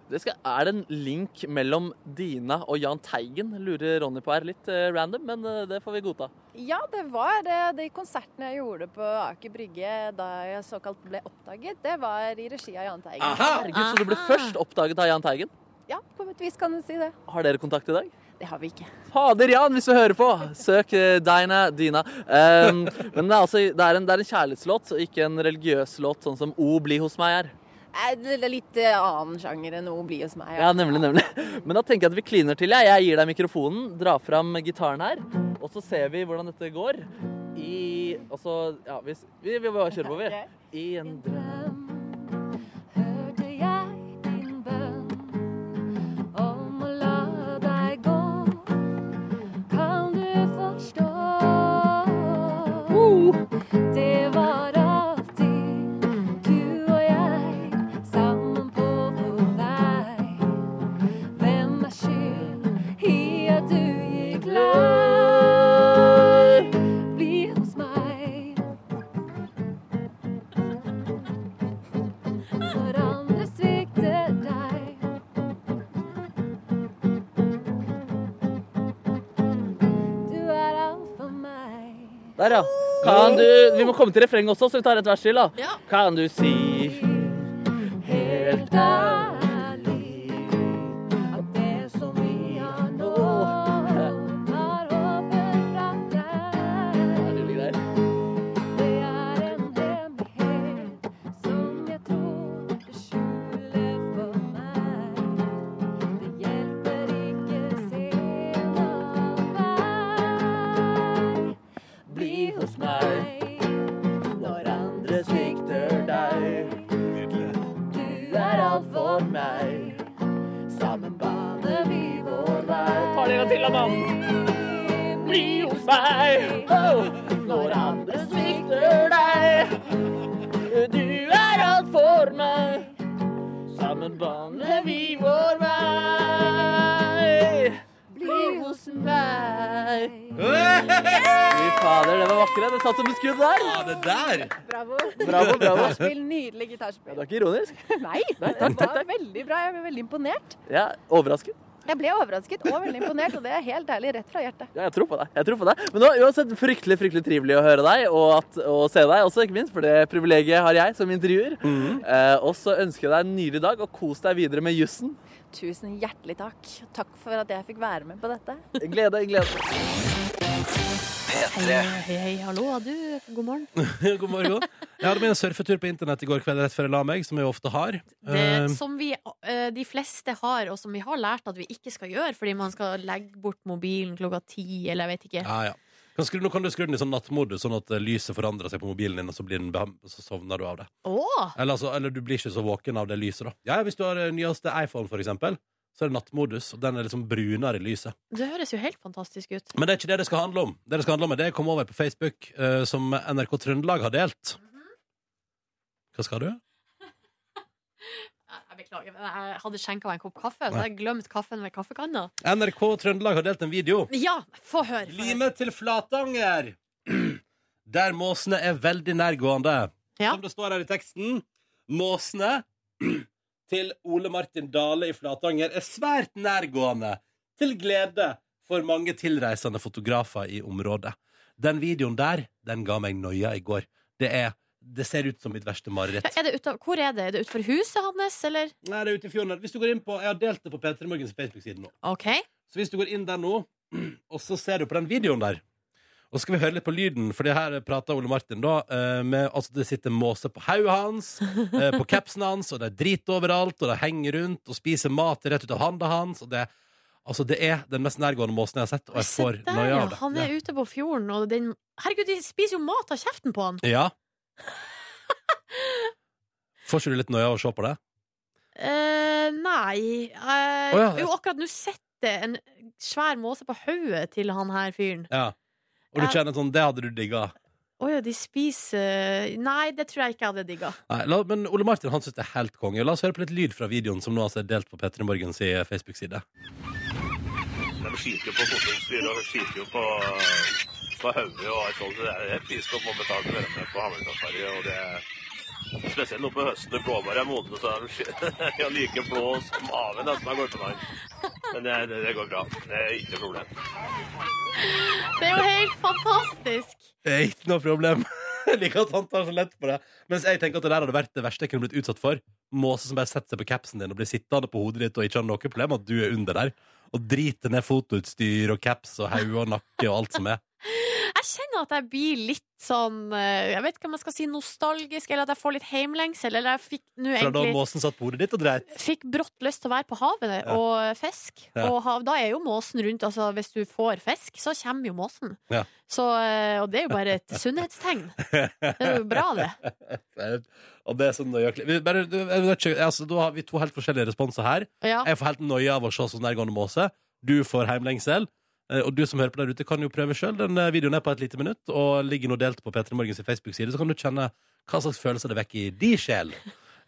D: Det skal, er det en link mellom Dina og Jahn Teigen, lurer Ronny på her. Litt eh, random, men eh, det får vi godta.
H: Ja, det var eh, de konsertene jeg gjorde på Aker Brygge da jeg såkalt ble oppdaget. Det var i regi av Jahn Teigen.
D: Herregud, så du ble først oppdaget av Jahn Teigen.
H: Ja, på et vis kan du si det.
D: Har dere kontakt i dag?
H: Det har vi ikke.
D: Fader Jan, hvis du hører på! Søk eh, Dina. Dina. Um, men det er, altså, det, er en, det er en kjærlighetslåt, og ikke en religiøs låt, sånn som O bli hos meg er.
H: Eh, Det er litt eh, annen sjanger enn O bli hos meg.
D: Ja, nemlig, nemlig. Men da tenker jeg at vi kliner til. Jeg, jeg gir deg mikrofonen, drar fram gitaren her, og så ser vi hvordan dette går. I Og så Ja, vi, vi, vi bare kjører på, vi. I en drøm
H: hørte jeg din bønn om å la deg gå. Kan du forstå? Det var alltid du og jeg sammen på vår vei. Hvem er skyld i at du gikk lei? Bli hos meg. når andre svikter deg. Du er alt for meg.
D: Der, ja. Kan du Vi må komme til refrenget også, så vi tar et vers til, da.
C: Ja.
D: Kan du si
H: Helt ærlig at det som vi har nå, tar håpet fra
D: Ja,
H: deg.
D: det ligger der.
H: Det er en hemmelighet som jeg tror du skjuler for meg. Det hjelper ikke sen allvei. Bli hos meg når andre svikter deg. Du er alt for meg. Sammen baner vi vår vei.
D: Ta det en gang til, da,
H: mann.
D: Bli hos meg oh, når andre svikter deg. Du er alt for meg. Sammen baner vi vår vei.
H: Bli hos meg.
D: Fy fader, det var vakkert. Det satt som et skudd der.
B: Ja, det der!
H: Bravo.
D: Bravo, bravo.
H: Gitarspill, nydelig gitarspill.
D: Det er ikke ironisk?
H: Nei, det var veldig bra. Jeg ble veldig imponert.
D: Ja, overrasket.
H: Jeg ble overrasket og veldig imponert, og det er helt ærlig rett fra hjertet.
D: Ja, jeg tror på deg. jeg tror på deg. Men det var uansett fryktelig fryktelig trivelig å høre deg og, at, og se deg også, ikke minst. For det privilegiet har jeg som intervjuer. Eh, og så ønsker jeg deg en nydelig dag, og kos deg videre med jussen.
H: Tusen hjertelig takk. Takk for at jeg fikk være med på dette.
D: Glede, glede.
C: Hei, hei, hei, hallo, du. God morgen.
B: God morgen. Jeg hadde med en surfetur på internett i går kveld rett før jeg la meg, som jeg jo ofte har. Eh,
C: Det som vi, eh, de fleste har, og som vi har lært at vi ikke skal gjøre, fordi man skal legge bort mobilen klokka ti, eller jeg vet ikke.
B: Ah, Ja, ja. Kan skru, nå kan du skru den i sånn nattmodus, sånn at eh, lyset forandrer seg på mobilen din, og så, blir den, beham- så sovner du av det.
C: Å!
B: Eller, altså, eller du blir ikke så våken av det lyset, da. Ja, ja, hvis du har eh, nyeste iPhone, for eksempel, så er det nattmodus, og den er liksom brunere i lyset.
C: Det høres jo helt fantastisk ut.
B: Men det er ikke det det skal handle om. Det det skal handle om er det jeg kom over på Facebook, eh, som NRK Trøndelag har delt. Hva skal du?
C: Jeg jeg beklager, men jeg hadde skjenka meg en kopp kaffe, så jeg glemte kaffen ved kaffekanna.
B: NRK Trøndelag har delt en video.
C: Ja, få høre. få høre.
B: Lime til Flatanger! Der måsene er veldig nærgående.
C: Ja.
B: Som det står her i teksten. Måsene til Ole Martin Dale i Flatanger er svært nærgående. Til glede for mange tilreisende fotografer i området. Den videoen der, den ga meg noia i går. Det er Det ser ut som mitt verste mareritt.
C: Er det utav, hvor er det? Er det utenfor huset hans, eller?
B: Nei, det er ute i fjorden. her. Hvis du går inn på, Jeg har delt det på P3 Morgens Facebook-side nå.
C: OK.
B: Så hvis du går inn der nå, og så ser du på den videoen der Og så skal vi høre litt på lyden, for det her prater Ole Martin da eh, med, Altså det sitter måser på hauet hans, eh, på capsen hans, og det er drit overalt, og det henger rundt og spiser mat rett ut av handa hans, og det Altså, det er den mest nærgående måsen jeg har sett, og jeg
C: Se
B: får
C: der,
B: noia
C: ja.
B: av det.
C: Han er ute på fjorden, og den Herregud, de spiser jo mat av kjeften på han!
B: Ja. Får ikke du litt noia av å se på det?
C: Eh, nei eh,
B: Å, ja.
C: Jo, akkurat nå sitter en svær måse på hodet til han her fyren.
B: Ja. Og du
C: Ja.
B: kjenner sånn Det hadde du digga.
C: Å ja, de spiser Nei, det tror jeg ikke jeg hadde digga.
B: Nei, la, men Ole Martin han syns det er helt konge. La oss høre på litt lyd fra videoen som nå altså er delt på Petter Morgens i Facebook-side.
I: De skyter jo på fotballstyr og skyter jo på, på hodet og alt sånt. Det er et pris på å betale for det på Hammerkastferje, og det er spesielt nå på høsten når blåbær er modne, så er de sky- ja, like blå som havet nesten har gått på land. Men det, det, det går bra. Det er ikke noe problem.
C: Det er jo helt fantastisk!
B: Det er ikke noe problem. Jeg liker at han tar så lett på det. Mens jeg tenker at det der hadde vært det verste jeg kunne blitt utsatt for. Måse som bare setter seg på capsen din og blir sittende på hodet ditt og ikke har noe problem med at du er under der. Og driter ned fotoutstyr og caps og hode og nakke og alt som er.
C: Jeg kjenner at jeg blir litt sånn eh, Jeg vet ikke om jeg skal si nostalgisk, eller at jeg får litt heimlengsel, eller jeg fikk nå
B: Fra da
C: egentlig
B: måsen satt på hodet ditt og dreit.
C: Fikk brått lyst til å være på havet
B: Ja.
C: og fiske.
B: Ja.
C: Og hav, da er jo måsen rundt. Altså, hvis du får fisk, så kommer jo måsen.
B: Ja.
C: Så, eh, og det er jo bare et sunnhetstegn. Det er jo bra, det.
B: Og det er sånn nøyaktig. Vi, bare, du, jeg vet ikke, altså, da har vi to helt forskjellige responser her.
C: Ja.
B: Jeg får helt noia av å se sånn nærgående måse. Du får heimlengsel. Eh, Og du som hører på der ute, kan jo prøve sjøl. Den eh, videoen er på et lite minutt og ligger nå delt på P3 Morgens Facebook-side. Så kan du kjenne hva slags følelser det vekker i di sjel.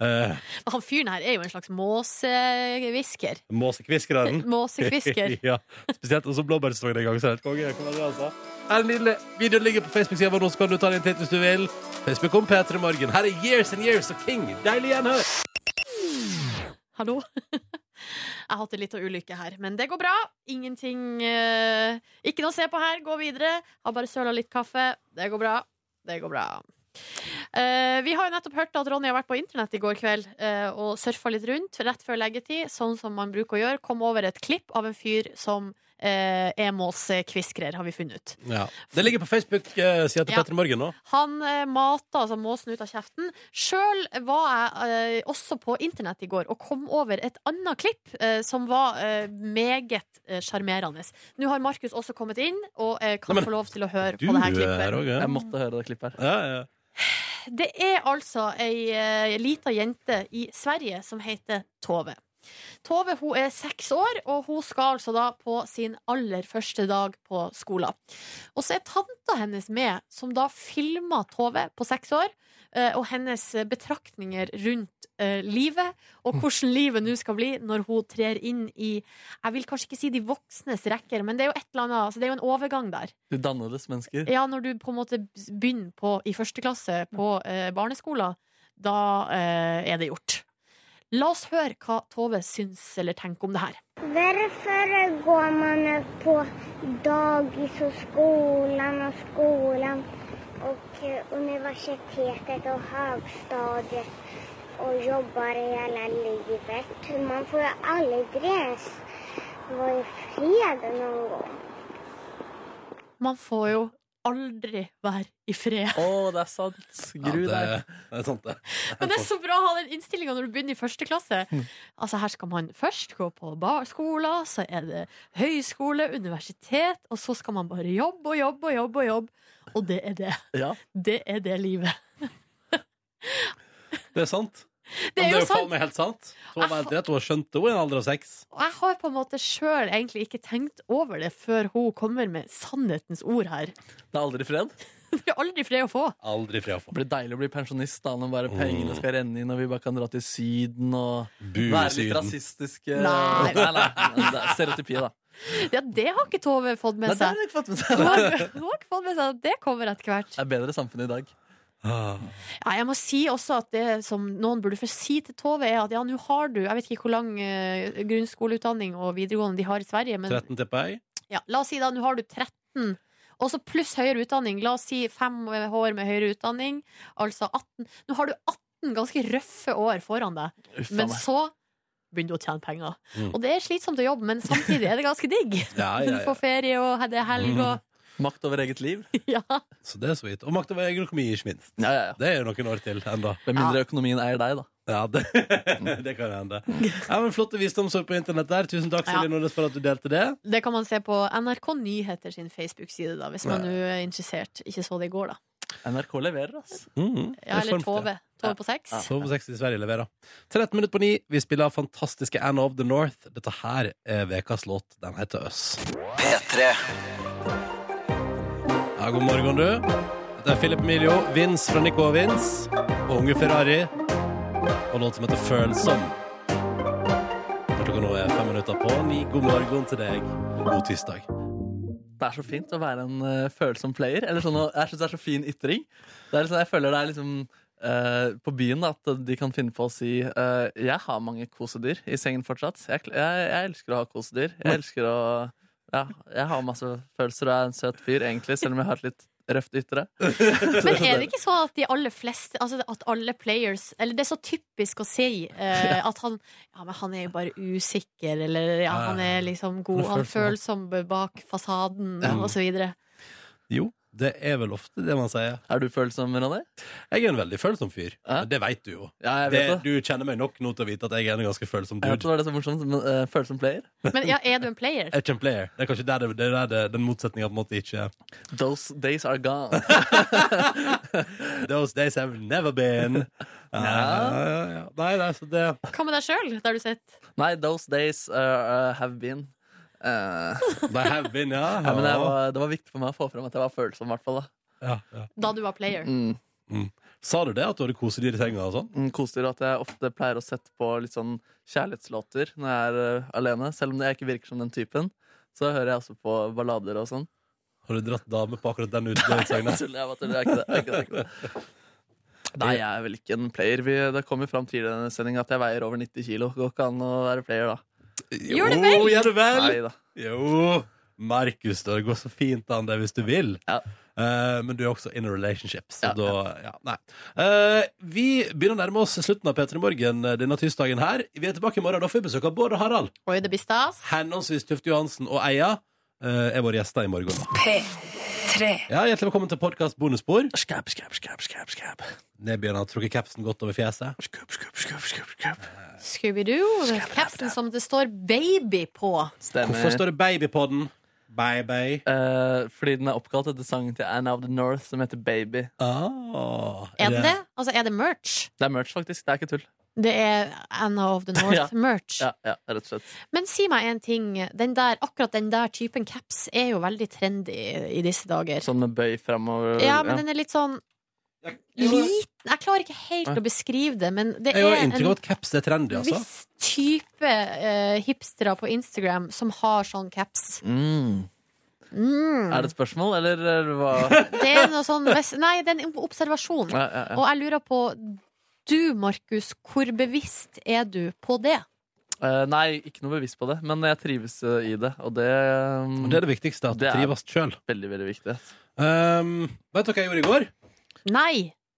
B: Eh,
C: Han fyren her er jo en slags måsehvisker.
B: Måsekviskeren.
C: Måsekvisker.
B: ja, spesielt også blåbærsesongen en gang. Så er det helt konge. Kan være det, altså. Her er nydelig. Videoen ligger på Facebook-sida vår nå, så kan du ta den inn hit hvis du vil. Facebook om P3 Morgen. Her er Years and Years og King. Deilig gjenhør.
C: Hallo? Jeg hadde litt av ulykke her, men det går bra. Ingenting eh, Ikke noe å se på her. Gå videre. Har bare søla litt kaffe. Det går bra. Det går bra. Eh, vi har jo nettopp hørt at Ronny har vært på internett i går kveld eh, og surfa litt rundt rett før leggetid, sånn som man bruker å gjøre. Kom over et klipp av en fyr som eh, er måsekviskrer, har vi funnet ut.
B: Ja. Det ligger på Facebook-sida til
C: Ja.
B: P3 Morgen nå.
C: Han eh, mata altså måsen ut av kjeften. Sjøl var jeg eh, også på internett i går og kom over et annet klipp eh, som var eh, meget eh, sjarmerende. Nå har Markus også kommet inn og eh, kan
B: Nei, men,
C: få lov til å høre
B: Du
C: på det her
B: er her
C: klippet.
B: òg, ja.
D: Jeg måtte høre det klippet her.
B: Ja, ja.
C: Det er altså ei eh, lita jente i Sverige som heter Tove. Tove hun er seks år, og hun skal altså da på sin aller første dag på skolen. Og så er tanta hennes med, som da filmer Tove på seks år, eh, og hennes betraktninger rundt eh, livet, og hvordan livet nå skal bli når hun trer inn i Jeg vil kanskje ikke si de voksnes rekker, men det er jo et eller annet, altså det er jo en overgang der.
D: De dannedes mennesker.
C: Ja, når du på en måte begynner på, i første klasse på eh, barneskolen, da eh, er det gjort. La oss høre hva Tove syns eller tenker om det her.
J: Varför går man på dagis och skolan och skolan och eh, universitetet och högstadiet och jobbar i hela livet? Man får ju aldrig ens vara i fred någon gång.
C: Man får jo aldri være i fred.
D: Å, det er sant! Gru
B: ja,
D: deg.
B: det, det er sant, det.
C: Men det er så bra å ha den innstillinga når du begynner i første klasse. Altså Her skal man først gå på barskolen, så er det høyskole, universitet, og så skal man bare jobbe og jobbe og jobbe. Og jobbe. Og det er det.
D: Ja.
C: Det er det livet.
B: Det er sant.
C: Det
B: Men
C: er jo
B: faen
C: sant. Ah,
B: meg helt sant. Så hun var helt rett, hun har skjønt det hun i en alder av seks.
C: Og jeg har på en måte sjøl egentlig ikke tenkt over det før hun kommer med sannhetens ord her.
D: Det er aldri fred.
C: Det blir aldri fred å få.
B: Aldri fred å få.
D: Det blir deilig å bli pensjonist da, når bare pengene skal renne inn, og vi bare kan dra til Syden og
B: i
D: være litt
B: Syden.
D: rasistiske.
C: Nei.
D: nei, nei. Det er stereotypi, da.
C: Ja, det har ikke Tove fått med
D: Nei, det
C: seg.
D: har hun ikke fått med
C: Hun
D: seg.
C: har, hun har ikke fått med seg at det kommer etter hvert.
D: Det er bedre samfunn i dag.
B: Ah,
C: Ja, jeg må si også at det som noen burde få si til Tove, er at ja, nå har du Jeg vet ikke hvor lang eh, grunnskoleutdanning og videregående de har i Sverige, men
B: 13 tipper jeg.
C: ja, la oss si da, nå har du 13. Og så pluss høyere utdanning. La oss si fem år med høyere utdanning, altså 18. Nå har du 18 ganske røffe år foran deg,
D: Uff,
C: men
D: faen meg.
C: så begynner du å tjene penger.
B: Mm.
C: Og det er slitsomt å jobbe, men samtidig er det ganske digg.
B: Ja,
C: Du
B: ja, ja.
C: får ferie, og det er helg, og
D: Makt over eget liv.
C: ja.
B: Så det er så vidt. Og makt over egen økonomi, ikke minst.
D: Ja, ja, ja.
B: Det er jo noen år til enda.
D: Med mindre økonomien eier deg, da.
B: Ja, det, det kan hende. Ja, men Flotte visdomsord på internett der. Tusen takk Silje
C: Ja.
B: Nordnes for at du delte det.
C: Det kan man se på NRK Nyheter sin Facebook-side, da, hvis man nå er interessert. Ikke så det i går, da.
D: NRK leverer, ass.
B: Mm.
C: Ja, eller
B: Reformt, ja.
C: Tove. Tove på sex.
B: Sove på 60 i Sverige leverer. 13 minutter på 9. Vi spiller fantastiske Anna of the North. Dette her er vekas låt. Den heter Øss.
A: P3.
B: Ja, god morgen, du. Dette er Philip Miljo, Vince fra Nico og Vince, og Unge Ferrari, og låt som heter Følsom. Klokka nå er fem minutter på ni. God morgen til deg. God tirsdag.
D: Det er så fint å være en eh, følsom player. Eller sånn, å- jeg synes det er så fin ytring. Det er liksom, jeg føler det er liksom eh, på byen da, at de kan finne på å si eh, Jeg har mange kosedyr i sengen fortsatt. Jeg, kl- jeg, jeg elsker å ha kosedyr. Jeg elsker å Ja, jeg har masse følelser og jeg er en søt fyr, egentlig, selv om jeg har et litt røft ytre.
C: Men er det ikke sånn at de aller fleste Altså at alle players Eller det er så typisk å si eh, at han Ja, men han er jo bare usikker, eller ja, han er liksom god Han er følsom Mm. bak fasaden, og så videre.
B: Jo, det er vel ofte det man sier.
D: Er du følsom, Ronny?
B: Jeg er en veldig følsom fyr.
D: Ja.
B: Det veit du jo.
D: Ja, jeg
B: Det,
D: vet det.
B: du kjenner meg nok nå til å vite at jeg er en ganske følsom
D: Jeg vet det
B: dude.
D: var det så morsomt, men eh, følsom player.
C: Men ja, er du en player?
B: Jeg er ikke en player. Det er kanskje der, det- det er der det, den motsetninga på en måte ikke er.
D: Those days are gone.
B: Those days have never been. Ja, ja, ja. Nei, nei, så det
C: Hva med deg sjøl, der du sitter?
D: Nei, those days uh, uh, have been. Eh,
B: They have been, ja.
D: ja, men jeg var, det var viktig for meg å få fram at jeg var følsom, i hvert fall. da
B: Ja, ja.
C: Da du var player?
D: Mm.
B: Sa du det, at du hadde kosedyr i senga og sånn?
D: Mm, Kosedyr at jeg ofte pleier å sette på litt sånn kjærlighetslåter når jeg er eh, alene. Selv om jeg ikke virker som den typen, så hører jeg også på ballader og sånn.
B: Har du dratt dame på akkurat den utsagna?
D: Jeg tuller, jeg bare tuller. Jeg er ikke det, jeg er ikke det, jeg er ikke det. Nei, jeg er vel ikke en player. Vi, det kom jo fram tidligere i denne sendinga at jeg veier over 90 kilo. Går ikke an å være player, da.
C: Gjør det vel?
B: Jo, gjør det vel!
D: Nei da.
B: Jo! Markus, det går så fint an det hvis du vil.
D: Ja.
B: Eh, men du er også in a relationship, så
D: Ja,
B: da ja, nei. Eh, vi begynner å nærme oss slutten av P3 Morgen eh, denne tirsdagen her. Vi er tilbake i morgen. Da får vi besøk av Bård og Harald.
C: Oi, det blir stas.
B: Henholdsvis Tufte Johansen og Eia eh, er våre gjester i morgen.
A: P3.
B: Ja, Hjertelig velkommen til podkast Bonusbord.
D: Skap, skap, skap, skap, skap.
B: Nebyen har trukket capsen godt over fjeset.
D: Skup, skup, skup, skup, skup.
C: Scooby-Doo. Capsen som det står 'baby' på.
B: Hvorfor
D: Stemmer.
B: står det baby på den? Baby.
D: Eh, fordi den er oppkalt etter sangen til Anne of the North som heter Baby.
B: Ah,
C: Er det det? Altså, er det merch?
D: Det er merch, faktisk. Det er ikke tull.
C: Det er Anna of the
D: Ja.
C: North-merch.
D: Ja, ja, rett og slett
C: Men si meg en ting. Den der, akkurat den der typen caps er jo veldig trendy i disse dager.
D: Sånn med bøy framover.
C: Ja, men den er litt sånn liten Jeg klarer ikke helt å beskrive det, men det
B: Jeg har
C: er
B: inntrykk
C: en
B: av at caps er trendy, altså.
C: viss type eh, hipstere på Instagram som har sånn caps.
D: Mm.
C: Mm.
D: Er det et spørsmål, eller eh, hva?
C: Det er noe sånn hvis- Nei, det er en observasjon.
D: Ja, ja, ja.
C: Og jeg lurer på du, Markus, hvor bevisst er du på det?
D: Eh, nei, ikke noe bevisst på det, men jeg trives eh, i det, og det, um,
B: Det er det viktigste, at du
D: Det er-
B: trives sjøl.
D: er veldig, veldig viktig.
B: Um, vet dere hva jeg gjorde i går?
C: Nei!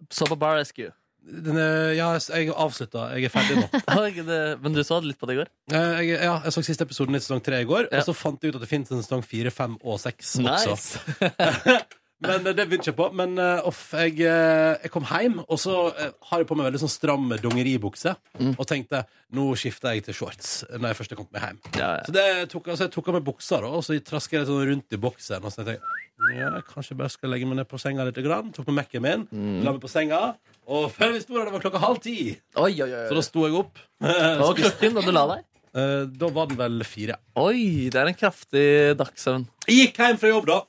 D: Så på Bar Rescue.
B: Denne, eh, ja, jeg avslutta. Jeg er ferdig nå.
D: Har ikke det- men du så litt på det i går?
B: Eh, jeg, ja, jeg så siste episoden i sesong tre i går,
D: Ja.
B: og så fant jeg ut at det fins en sesong fire, fem og seks også. Men eh, det begynte jeg på. Men eh, off, jeg, eh, jeg kom hjem, og så eh, har jeg på meg veldig sånn stram dongeribukse. Og tenkte nå skifter jeg til shorts eh, når jeg først har kommet meg hjem. Så det tok, altså, jeg tok av meg buksa, da, og så trasket jeg sånn rundt i boksen. Og så tenkte jeg ja, jeg kanskje bare skal legge meg ned på senga litt. Grann. Tok med Mac-en min, la meg på senga, og før vi sto der, det var klokka halv ti. Så da sto jeg opp. Eh,
D: Hva var klokken da du la deg?
B: da var den vel fire.
D: Oi, det er en kraftig dagsøvn.
B: Jeg gikk hjem fra jobb, da.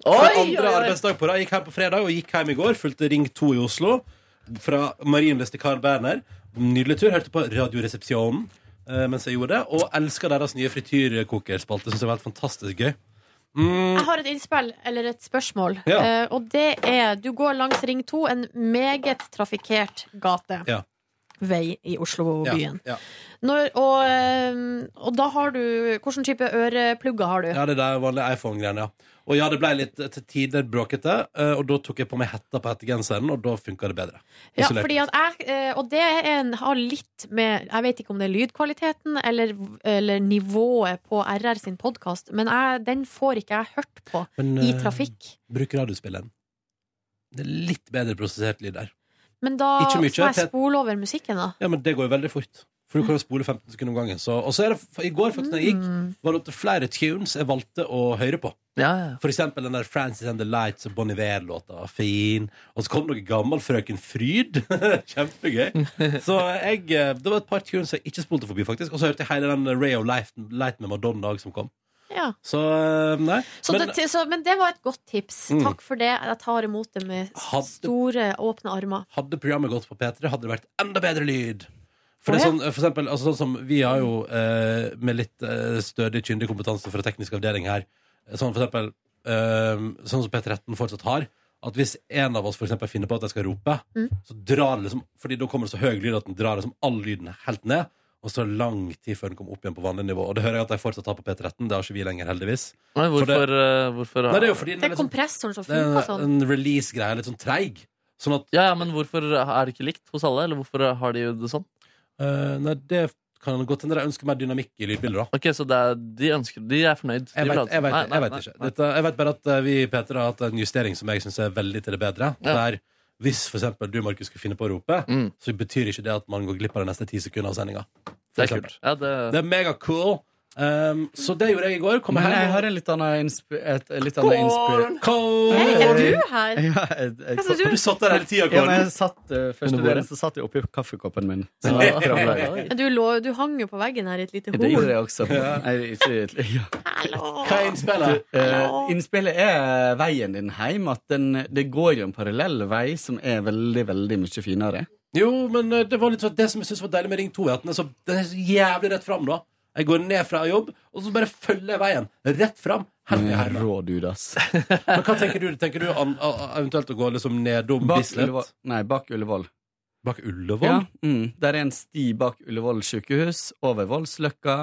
D: Oi,
B: For
D: oi,
B: andre
D: oi.
B: arbeidsdag på rad. Gikk hjem på fredag og gikk hjem i går. Fulgte Ring 2 i Oslo. Fra Marienlyst til Carl Berner. Nydelig tur. Hørte på Radioresepsjonen eh, mens jeg gjorde det. Og elska deres nye frityrkokerspalte. Syns det var helt fantastisk gøy. Mm.
C: Jeg har et innspill, eller et spørsmål.
B: Ja.
C: Eh, og det er Du går langs Ring 2, en meget trafikkert gate.
B: Ja.
C: Vei i
B: Ja,
C: Oslo-byen.
B: ja.
C: Når- Og, eh, og da har du Hvilken type øreplugger har du?
B: Ja, det der vanlige iPhone-greiene, ja. Og ja, det ble litt eh, til tider bråkete, eh, og da tok jeg på meg hetta på hettegenseren, og da funka det bedre.
C: Ja,
B: Isolert.
C: fordi at jeg, eh, og det er en, har litt med Jeg vet ikke om det er lydkvaliteten eller, eller nivået på RR sin podkast, men jeg, den får ikke jeg hørt på
B: Men,
C: i
B: eh,
C: trafikk.
B: Bruk radiospilleren. Det er litt bedre prosessert lyd der.
C: Men da
B: ikke mye,
C: må jeg
B: Pet-
C: spole over musikken, da.
B: Ja, men det går jo veldig fort. For du kan jo spole 15 sekunder om gangen. Så, og så er det, f- I går faktisk når jeg gikk, var det opp til flere tunes jeg valgte å høre på. For eksempel den der Francis and the Lights og Bon Iver-låta. Fin. Og så kom det noe gammel Frøken Fryd. Kjempegøy. Så jeg, eh, det var et par tunes jeg ikke spolte forbi, faktisk. Og så hørte jeg hele den Ray of Light, Light med Madonna også som kom.
C: Ja.
B: Så eh, nei.
C: Så
B: Men-
C: det, så, men det var et godt tips.
B: Mm.
C: Takk for det. Jeg tar imot det med s-
B: Hadde-
C: store, åpne armer.
B: Hadde programmet gått på P3, hadde det vært enda bedre lyd. For,
C: Å,
B: det er
C: ja.
B: sånn, for eksempel, altså sånn som Vi har jo eh, med litt eh, stødig, kyndig kompetanse fra teknisk avdeling her Sånn for eksempel eh, Sånn som P13 fortsatt har At hvis en av oss for eksempel finner på at jeg skal rope
C: Mm.
B: Så drar det liksom Fordi da kommer det så høy lyd at den drar liksom all lyden helt ned Og så er det lang tid før den kommer opp igjen på vanlig nivå Og det hører jeg at jeg fortsatt har på P13 Det har ikke vi lenger heldigvis
D: Nei,
B: For det-
D: hvorfor, eh, hvorfor
B: Nei, det er jo fordi den
C: Det
B: er
C: er
B: liksom-
C: kompressoren som
B: det er
C: funker
B: en,
C: sånn.
B: en release-greie, litt sånn treig Sånn at
D: ja, ja, Men hvorfor er det ikke likt hos alle? Eller hvorfor har de det sånn?
B: Eh, nei, det kan godt hende de ønsker mer dynamikk i lydbildet, da.
D: Ok, Så det er, de ønsker De er fornøyd? De
B: Jeg
D: vil ha
B: vet,
D: det
B: jeg vet,
D: sånn. Nei,
B: jeg vet
D: nei,
B: ikke.
D: nei, nei.
B: Dette, jeg vet bare at eh, vi i P3 har hatt en justering som jeg syns er veldig til det bedre.
D: Ja.
B: Der hvis for eksempel du, Markus, skulle finne på å rope,
D: Mm.
B: så betyr ikke det at man går glipp av de neste ti sekundene av sendinga.
D: Det er kult. Ja, det...
B: Det er megacool. Um, så det gjorde jeg i går. Kom
K: Men
B: her.
K: jeg har en litt annen innsp- et litt annet innspill.
B: Kål!
C: Hei, er du her?
K: Ja, jeg, jeg,
C: Hva sa du?
B: Du satt der hele tida,
K: ja, men
B: Kåren.
K: jeg satt, eh, første
D: Under bordet?
K: delen så satt jeg oppi kaffekoppen min. Så det var fra meg.
D: Oi.
C: Men Du, lå, du hang jo på veggen her i et lite
K: Det gjorde
C: horn.
K: jeg også. Nei, ikke, ja.
C: Hallo!
B: Hva er innspillet?
K: Eh, innspillet er veien din hjem. At den, det går jo en parallell vei som er veldig, veldig mye finere.
B: Jo, men eh, det var litt sånn Det som jeg synes var deilig med Ring 2 er at den er så, den er så jævlig rett fram da Jeg går ned fra jobb, og så bare følger jeg veien Rett fram, helt
K: Med
B: ned her da.
K: Eh, rå dude, ass.
B: Men hva tenker du? Tenker du an, a, a, eventuelt å gå liksom nedom
K: Bak Ullevål.
B: Bislett?
K: Nei, bak Ullevål.
B: Bak Ullevål?
K: Ja, mm. Der er en sti bak Ullevål sykehus, over Voldsløkka.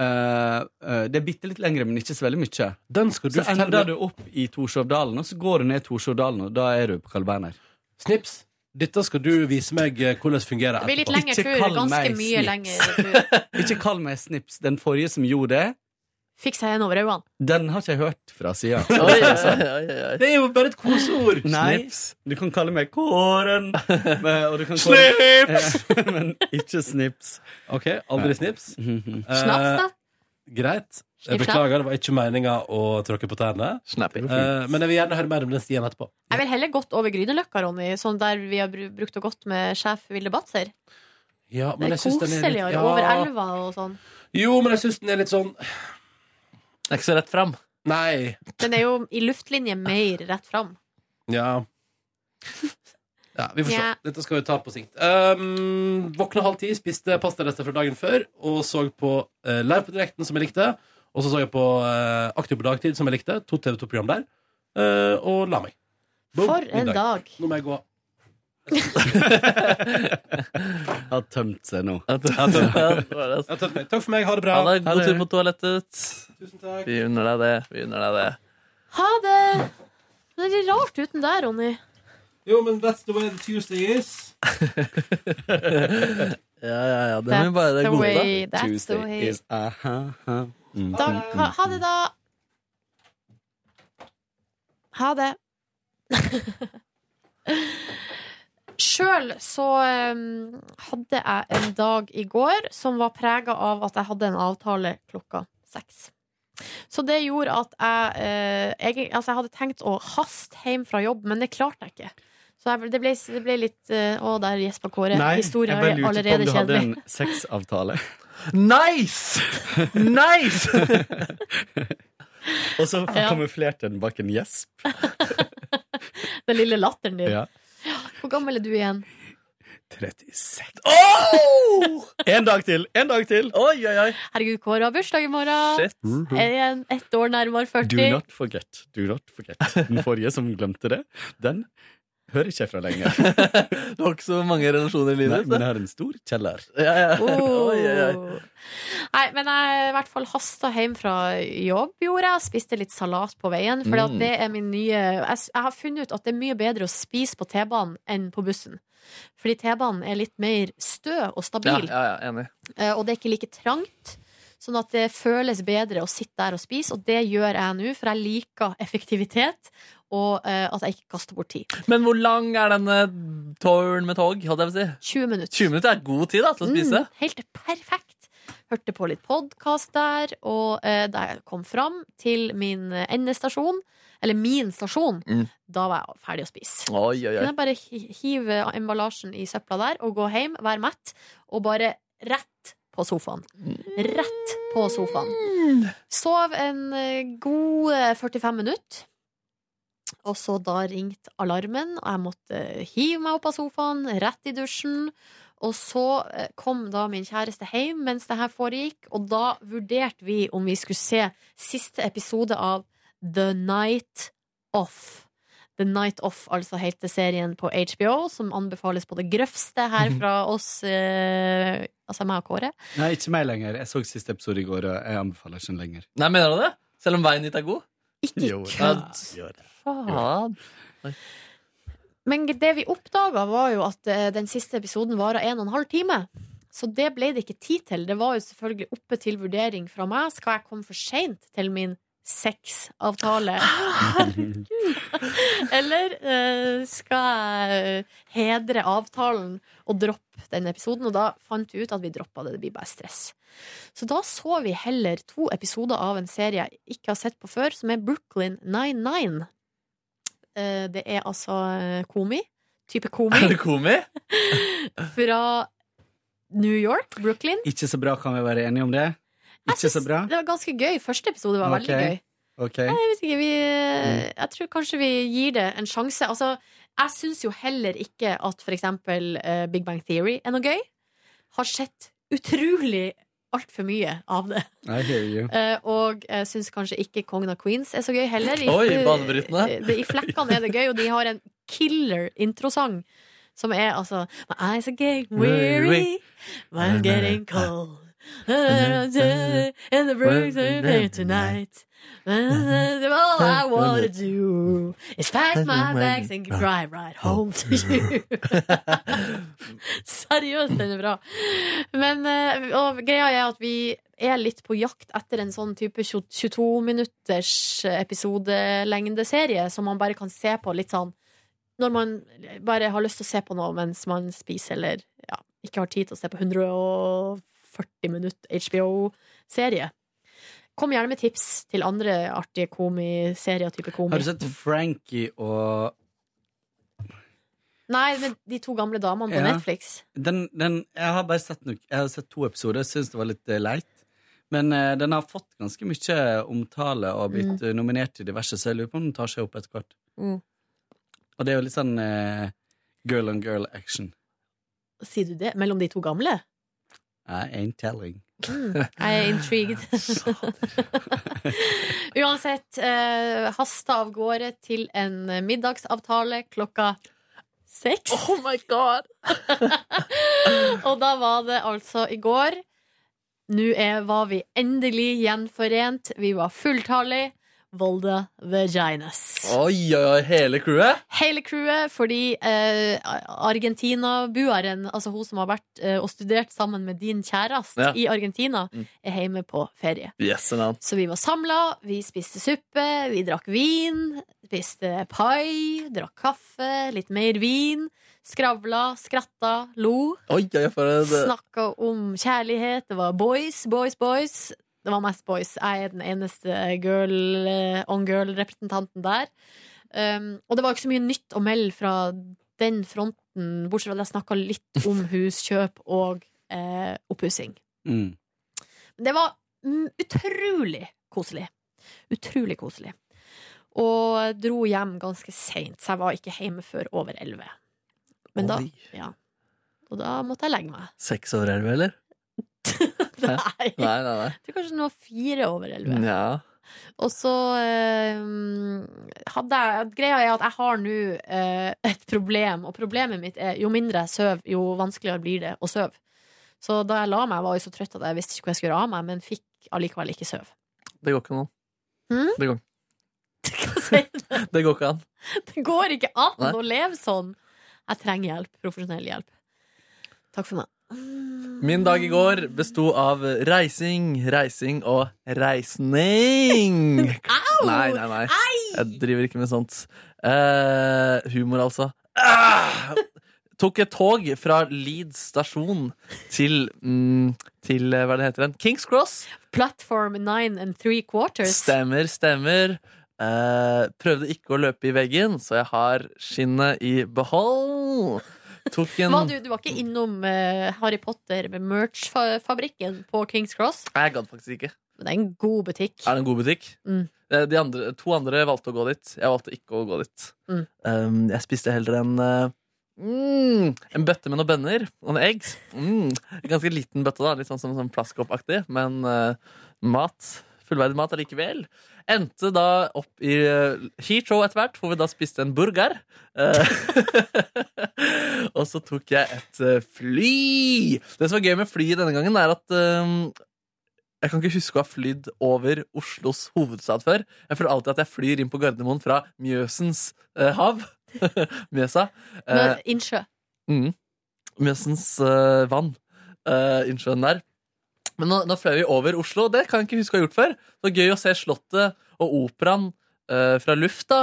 K: Eh, eh, det er bitte litt lengre, men ikke så veldig mye.
B: Den skal du
K: Så
B: fortelle
K: ender du opp i Torshovdalen, og så går du ned Torshovdalen, og da er du på Carl Berner.
B: Snips, dette skal du vise meg eh, hvordan det fungerer
C: Det blir litt
B: etterpå
C: lengre
K: Ikke
C: tur.
K: kall
C: Ganske
K: meg
C: mye
K: snips.
C: lengre tur.
K: Ikke kall meg Snips. Den forrige som gjorde det,
C: Fikk seg en over øynene.
K: den har ikke jeg hørt fra sida.
D: Oi, oi, oi, oi, oi.
B: Det er jo bare et koseord
K: Nei, du kan kalle meg Kåren. Men- Og du kan snips! Men ikke Snips.
B: Ok, aldri snips Eh,
C: Snaps, da.
B: Greit Jeg
C: Snipp, snapp.
B: beklager, det var ikke meningen å tråkke på tærne
D: Snappy.
B: Eh, Men jeg vil gjerne høre mer om den stien etterpå
C: Jeg vil heller gått over Grünerløkka, Ronny, sånn der vi har bru- brukt og gått med sjef Vilde Batzer.
B: ja, men
C: Det er
B: jeg synes den litt-
C: koseligere
B: Ja.
C: over elva og sånn.
B: Jo, men jeg syns den er litt sånn
D: Det er ikke så rett fram.
B: Nei.
C: Den er jo i luftlinje mer rett fram.
B: Ja. Ja, Vi får se.
C: Ja.
B: Dette skal vi ta på sikt. Um, våkna halv ti, spiste pastarester fra dagen før og så på eh, Live på direkten, som jeg likte. Og så så jeg på eh, Aktiv på dagtid, som jeg likte. To TV2-program der. Eh, og la meg. Boom,
C: For en
B: middag.
C: dag.
B: Nå må jeg gå.
K: Har tømt seg nå.
D: Ja, det var det.
B: Jeg har tømt meg. Takk for meg. Ha det bra.
D: Ha det. God
K: det.
D: tur på toalettet.
B: Tusen takk.
D: Vi unner deg det. Vi unner deg det.
C: Ha det! Men Det er rart uten deg, Ronny.
B: Jo, men that's the way the Tuesday is.
D: Ja, ja, ja. Det er
C: That's
D: jo bare det
C: the
D: gode.
C: way, that's the
K: Tuesday
C: way.
K: is aha. mm,
C: Mm, Da, ha, ha det, da. Ha det. Sjøl så eh, hadde jeg en dag i går som var prega av at jeg hadde en avtale klokka seks. Så det gjorde at jeg eh, jeg, Altså, jeg hadde tenkt å haste hjem fra jobb, men det klarte jeg ikke. Så jeg, det, ble, det ble litt eh, Å, der gjespa Kåre. Historien er allerede
K: du hadde
C: kjedelig.
K: en sexavtale.
D: Nice! Nice!
K: Og så
C: Ja.
K: kamuflerte den bak en gjesp.
C: Den lille latteren din.
K: Ja.
C: Hvor gammel er du igjen?
K: 36. Oh! En dag til! En dag til!
C: Herregud, Kåre har bursdag i morgen.
K: Shit. Mhm.
C: Er igjen ett år nærmere 40.
K: Do not forget. Do not forget. Den forrige som glemte det, den hører ikke jeg fra lenger.
D: Du har ikke så mange relasjoner i
K: Nei,
D: livet.
K: men jeg har en stor kjeller.
D: Ja, ja.
C: Oh.
D: Oi, oi, oi.
C: Nei, men jeg i hvert fall hasta hjem fra jobb, gjorde jeg. Spiste litt salat på veien. For
L: Mm.
C: det er min nye jeg, s- jeg har funnet ut at det er mye bedre å spise på T-banen enn på bussen. Fordi T-banen er litt mer stø og
D: Ja,
C: stabil,
D: ja, ja, enig.
C: eh, og det er ikke like trangt. Sånn at det føles bedre å sitte der og spise, og det gjør jeg nå, for jeg liker effektivitet. Og eh, at jeg ikke kaster bort tid.
D: Men hvor lang er denne turen med tog? Holdt jeg på å si?
C: 20 minutter.
D: 20 minutter er god tid da, til å spise.
C: Mm, helt perfekt. Hørte på litt podkast der, og eh, da jeg kom fram til min eh, endestasjon, eller min stasjon,
D: Mm.
C: da var jeg ferdig å spise.
D: Oi, oi,
C: Kunne
D: oi.
C: jeg bare hi- hive emballasjen i søpla der og gå hjem, være mett, og bare rett på sofaen.
D: Mm.
C: Rett på sofaen. Sov en eh, god eh, 45 minutter. Og så da ringte alarmen, og jeg måtte hive meg opp av sofaen, rett i dusjen. Og så eh, kom da min kjæreste hjem mens det her foregikk, og da vurderte vi om vi skulle se siste episode av The Night Off. The Night Off, altså heter serien på HBO, som anbefales på det grøvste her fra oss, eh, altså meg og Kåre.
K: Nei, ikke meg lenger. Jeg så siste episode i går, og jeg anbefaler ikke den lenger.
D: Nei, mener du det? Selv om veien dit er god?
C: Ikke
K: kødd!
D: Faen.
C: Men det vi oppdaga, var jo at eh, den siste episoden varer en og en halv time. Så det ble det ikke tid til. Det var jo selvfølgelig oppe til vurdering fra meg. Skal jeg komme for seint til min sexavtale? Eller eh, skal jeg hedre avtalen og droppe den episoden? Og da fant vi ut at vi droppa det. Det blir bare stress. Så da så vi heller to episoder av en serie jeg ikke har sett på før, som er Brooklyn 99. Eh, Det er altså eh, komi. Type komi.
D: Er det komi?
C: Fra New York, Brooklyn.
K: Ikke så bra, kan vi være enige om det? Ikke så bra?
C: Det var ganske gøy. Første episode var veldig gøy.
K: Ok. Mm.
C: Nei, Jeg vet ikke, vi, eh, jeg tror kanskje vi gir det en sjanse. Altså, jeg syns jo heller ikke at for eksempel eh, Big Bang Theory er noe gøy. Har sett utrolig altfor mye av det.
K: I hear you.
C: Eh, og jeg syns kanskje ikke Kongen av Queens er så gøy heller.
K: Oi, banebrytende.
C: Det, I flekkene er det gøy, og de har en killer introsang. Som er altså My eyes are getting weary, I'm getting cold. And the birds are there tonight. All I wanna do is pack my bags and
K: Ah.
C: drive right
K: Oh.
C: home to you. Seriøst, den er bra. Men eh, og greia er at vi er litt på jakt etter en sånn type 22-minutters episodelengdeserie som man bare kan se på litt sånn når man bare har lyst til å se på noe mens man spiser, eller ja, ikke har tid til å se på 140 minutt HBO-serie. Kom gjerne med tips til andre artige komiserier type komi.
K: Har du sett Frankie og
C: Nei, men de to gamle damene på
K: Ja.
C: Netflix.
K: den, den, Jeg har bare sett, nok, jeg har sett to episoder, syns det var litt eh, leit. Men eh, den har fått ganske mye omtale og blitt
C: Mm.
K: eh, nominert til diverse, så jeg lurer på om den tar seg opp etter hvert.
C: Mm.
K: Og det er jo litt sånn eh, girl on girl action.
C: Sier du det? Mellom de to gamle?
K: I ain't telling.
C: Mm, jeg er intrigued. Uansett, eh, hasta av gårde til en middagsavtale klokka seks.
D: Oh my god!
C: Og da var det altså i går. Nå er, var vi endelig gjenforent. Vi var fulltallige. Volda Vaginas.
D: Oi, oi, oi, hele crewet?
C: Hele crewet, fordi eh, Argentina-bueren, altså hun som har vært eh, og studert sammen med din kjæreste
D: Ja.
C: i Argentina,
D: Mm.
C: er hjemme på ferie.
D: Yes, and out.
C: Så vi var samla, vi spiste suppe, vi drakk vin, spiste pai, drakk kaffe, litt mer vin. Skravla, skratta, lo.
D: Oi, oi, oi, for en
C: Snakka om kjærlighet. Det var boys, boys, boys. Det var mest boys. Jeg er den eneste girl, eh, on girl-representanten der. Um, og det var ikke så mye nytt å melde fra den fronten, bortsett fra at jeg snakka litt om huskjøp og eh, oppussing.
K: Mm.
C: Men Det var mm, utrolig koselig. Utrolig koselig. Og dro hjem ganske seint, så jeg var ikke hjemme før over elleve. Men da,
D: Oi.
C: ja. Og da måtte jeg legge meg.
D: Seks over elleve, eller?
C: Nei.
D: Nei, nei, nei.
C: Jeg tror kanskje den var fire over elleve.
D: Ja.
C: Og så eh, hadde jeg Greia er at jeg har nå eh, et problem, og problemet mitt er jo mindre jeg sover, jo vanskeligere blir det å sove. Så da jeg la meg, var jeg så trøtt at jeg visste ikke hvor jeg skulle gjøre av meg, men fikk allikevel ikke sove.
D: Det går ikke an.
C: Hmm?
D: Det går Det går ikke an.
C: Det går ikke an
D: Nei.
C: å leve sånn! Jeg trenger hjelp. Profesjonell hjelp. Takk for meg.
D: Min dag i går besto av reising, reising og reisning.
C: Au!
D: Nei, nei, nei. Jeg driver ikke med sånt. Eh, humor, altså. Ah! Tok et tog fra Leeds stasjon til, mm, til eh, hva det heter den? Kings Cross.
C: Platform nine and three quarters.
D: Stemmer, stemmer. Eh, prøvde ikke å løpe i veggen, så jeg har skinnet i behold. Tok en
C: Var du, du var ikke innom eh, Harry Potter med merch-fabrikken på Kings Cross?
D: Nei, jeg gadd faktisk ikke.
C: Men det er en god butikk.
D: Er det en god butikk?
C: Mm.
D: Eh, De andre, to andre valgte å gå dit. Jeg valgte ikke å gå dit.
C: Mm.
D: Um, jeg spiste heller en eh, mm, En bøtte med noen bønner og noen egg. Mm. En Ganske liten bøtte, da. Litt sånn, som sånn plastkoppaktig. Men eh, mat. Fullverdig mat allikevel. Endte da opp i uh, Heathrow etter hvert, hvor vi da spiste en burger. Eh, og så tok jeg et eh, fly. Det som var gøy med flyet denne gangen, er at eh, jeg kan ikke huske å ha flydd over Oslos hovedstad før. Jeg føler alltid at jeg flyr inn på Gardermoen fra Mjøsens eh, hav. Mjøsa. Eh,
C: Men innsjø.
D: mm, Mjøsens eh, vann. Eh, innsjøen der. Men nå, nå fløy vi over Oslo. Det kan jeg ikke huske å ha gjort før. Det var gøy å se Slottet og Operaen eh, fra lufta.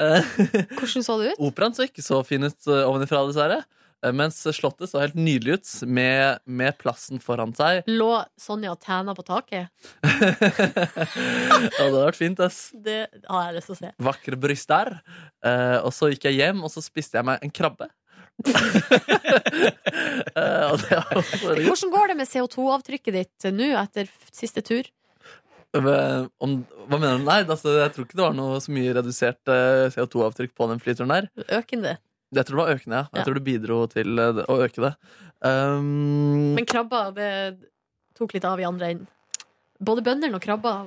D: Eh,
C: Hvordan så det ut?
D: Operaen så ikke så fin ut eh, ovenifra, dessverre. Eh, Mens Slottet så helt nydelig ut, med, med plassen foran seg.
C: Lå Sonja og tæna på taket?
D: Ja, det hadde vært fint, ass.
C: Det har jeg lyst til å se.
D: Vakre bryst der. Eh, og så gikk jeg hjem, og så spiste jeg meg en krabbe. Eh, og det var forrige.
C: Hvordan går det med CO2-avtrykket ditt nå etter f- siste tur?
D: Men Om, hva mener du? Nei, altså, jeg tror ikke det var noe så mye redusert eh, CO2-avtrykk på den flyturen der.
C: Økende.
D: Jeg tror det var økende, ja. Jeg
C: Ja.
D: tror det bidro til eh, det- å øke det. Um,
C: Men krabba, det tok litt av i andre enden. Både bøndene og krabba.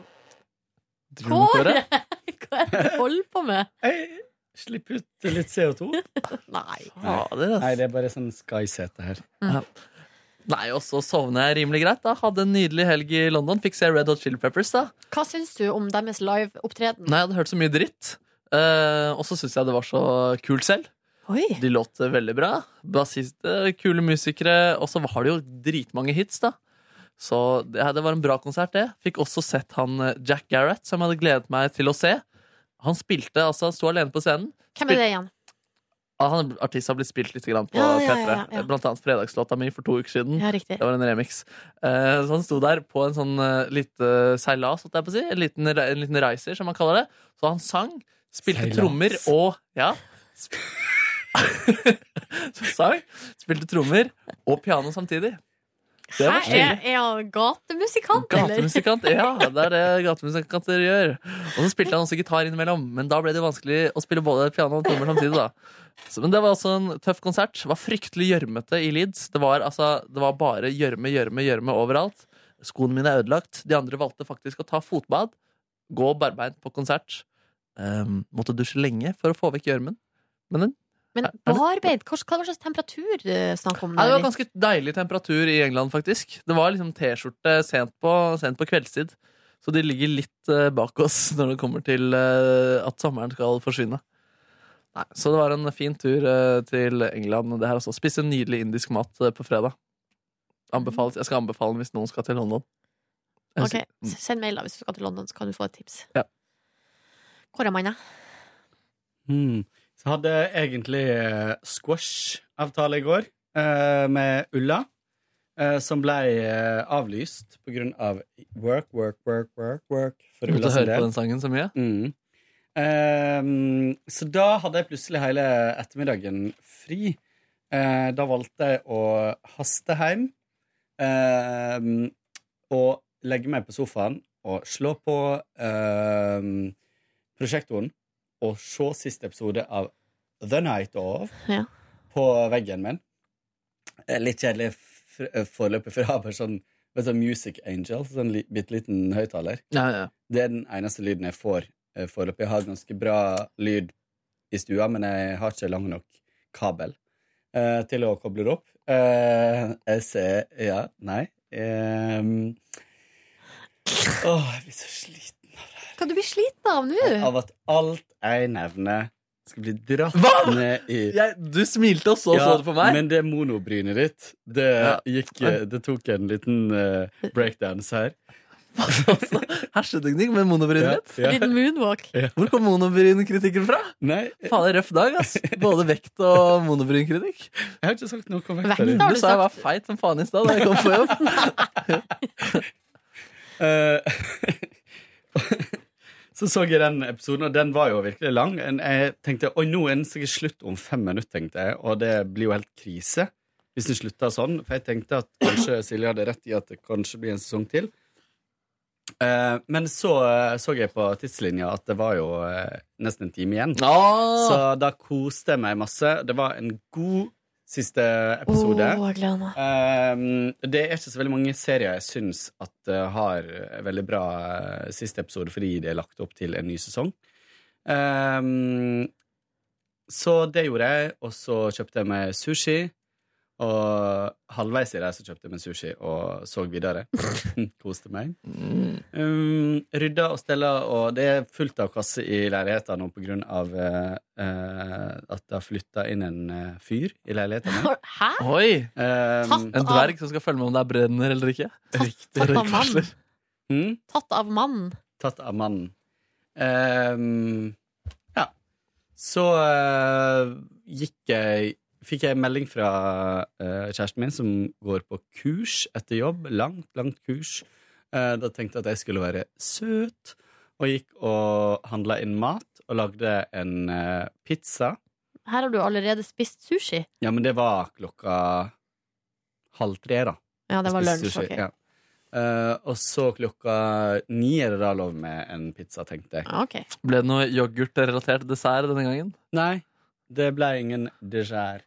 D: driver du
C: Kåre!
D: med
C: Hva er det du holder på med?
K: Jeg slipper ut litt CO2.
C: Nei.
D: Fader, ass.
K: Nei, det er bare sånn sky-sete her.
D: Nei, og så sovna jeg rimelig greit. da Hadde en nydelig helg i London. Fikk se Red Hot Chili Peppers. da
C: Hva syns du om deres liveopptreden?
D: Nei, jeg hadde hørt så mye dritt. Eh, og så syns jeg det var så kult selv.
C: Oi.
D: De låt veldig bra. Bassister, kule musikere. Og så har de jo dritmange hits, da. Så det, det var en bra konsert, det. Fikk også sett han eh, Jack Garrett, som jeg hadde gledet meg til å se. Han spilte, altså, han sto alene på scenen.
C: Hvem er det igjen?
D: Ah, Han artist har blitt spilt litt grann på
C: Ja, ja,
D: P3.
C: ja, ja.
D: Blant annet fredagslåta mi for to uker siden.
C: Ja, riktig.
D: Det var en remix. Eh, så han sto der på en sånn eh, lite seilas, holdt jeg på å si. En liten, re- en liten reiser, som han kaller det. Så han sang, spilte
K: Seilas.
D: trommer og Ja. Sp- Så sang, spilte trommer og piano samtidig. Det
C: Hæ,
D: var
C: er,
D: stilig.
C: er han gatemusikant, eller?
D: Gatemusikant, ja. Det er det gatemusikanter gjør. Og så spilte han også gitar innimellom, men da ble det vanskelig å spille både piano og trommer samtidig. da så, Men det var også en tøff konsert. Det var fryktelig gjørmete i Leeds. Det var, altså, det var bare gjørme, gjørme, gjørme overalt. Skoene mine er ødelagt. De andre valgte faktisk å ta fotbad, gå barbeint på konsert. Ehm, måtte dusje lenge for å få vekk gjørmen. Men den
C: Men barbeid, hva hva slags temperatur eh, snakker om
D: Ja, det var
C: der?
D: ganske deilig temperatur i England, faktisk. Det var liksom T-skjorte sent på, sent på kveldstid. Så de ligger litt eh, bak oss når det kommer til eh, at sommeren skal forsvinne. Nei, så det var en fin tur eh, til England. Det her også. Spiste nydelig indisk mat eh, på fredag. Anbefales. Jeg skal anbefale den hvis noen skal til London. Jeg
C: Ok,
D: sy-
C: s- Send mail da hvis du skal til London, så kan du få et tips.
D: Ja.
C: Hvor er manna?
K: Mm. Så hadde jeg egentlig eh, squash-avtale i går eh, med Ulla, eh, som ble eh, avlyst på grunn av work, work, work, work, work.
D: Du måtte høre på den sangen så mye?
K: Mm. Ehm, så da hadde jeg plutselig hele ettermiddagen fri. Eh, da valgte jeg å haste hjem ehm, og legge meg på sofaen og slå på ehm, prosjektoren og se siste episode av The Night Of
C: Ja.
K: på veggen min. Eh, Litt kjedelig f- eh, foreløpig, for jeg har bare sånn, vet du, sånn Music Angel, sånn li, bitte liten høyttaler. Det er den eneste lyden jeg får eh, foreløpig. Jeg har ganske bra lyd i stua, men jeg har ikke lang nok kabel eh, til å koble det opp. Eh, jeg ser Ja, nei. Eh, åh, jeg blir så sliten
C: Kan du bli sliten av nå?
K: av at alt jeg nevner, skal bli dratt ned i
D: Du smilte og så så det på meg.
K: Men det monobrynet ditt, det,
D: Ja.
K: gikk, eh, det tok en liten eh, breakdance her.
D: Herseteknikk med monobrynet
K: Ja,
D: ditt.
K: ja. Liten
C: moonwalk.
D: Hvor kom monobrynkritikken fra?
K: Nei.
D: Faen, det er røff dag, ass. Både vekt og monobrynkritikk.
K: Jeg har ikke sagt noe om
D: vekta di. Du sa jeg var feit som faen i stad da jeg kom på jobb.
K: Eh, så så jeg den episoden, og den var jo virkelig lang. En- Jeg tenkte oi, nå er den sikkert slutt om fem minutter, tenkte jeg, og det blir jo helt krise hvis den slutter sånn. For jeg tenkte at kanskje Silje hadde rett i at det kanskje blir en sesong til. Eh, men så eh, så jeg på tidslinja at det var jo eh, nesten en time igjen. Så da koste jeg meg masse. Det var en god siste episode.
C: Åh, jeg gleder meg.
K: Ehm, det er ikke så veldig mange serier jeg syns at eh, har en veldig bra eh, siste episode, fordi det er lagt opp til en ny sesong. Ehm, så det gjorde jeg, og så kjøpte jeg meg sushi. Og halvveis i det så kjøpte jeg meg sushi og så videre. Koste meg. Um, rydda og stella, og det er fullt av kasse i leiligheten nå på grunn av eh, eh, at det har flytta inn en eh, fyr i leiligheten min.
C: Hæ?
D: Oi!
K: Um,
D: en dverg som skal følge med om det er brenner eller ikke.
C: tatt av mann.
D: Røykvarsler.
K: Mm,
C: Tatt av mannen.
K: tatt av mannen. Um, ja. Så eh, gikk jeg Fikk jeg en melding fra eh, kjæresten min som går på kurs etter jobb. Langt, langt kurs. Eh, da tenkte jeg at jeg skulle være søt, og gikk og handla inn mat og lagde en eh, pizza.
C: Her har du allerede spist sushi.
K: Ja, men det var klokka halv tre, da.
C: Ja, det var
K: Jeg spiste
C: lunsj, ok.
K: ja. Eh, og så klokka ni er det da lov med en pizza, tenkte jeg.
C: Ah,
D: Ble det noe yoghurtrelatert dessert denne gangen?
K: Nei, det ble ingen dessert.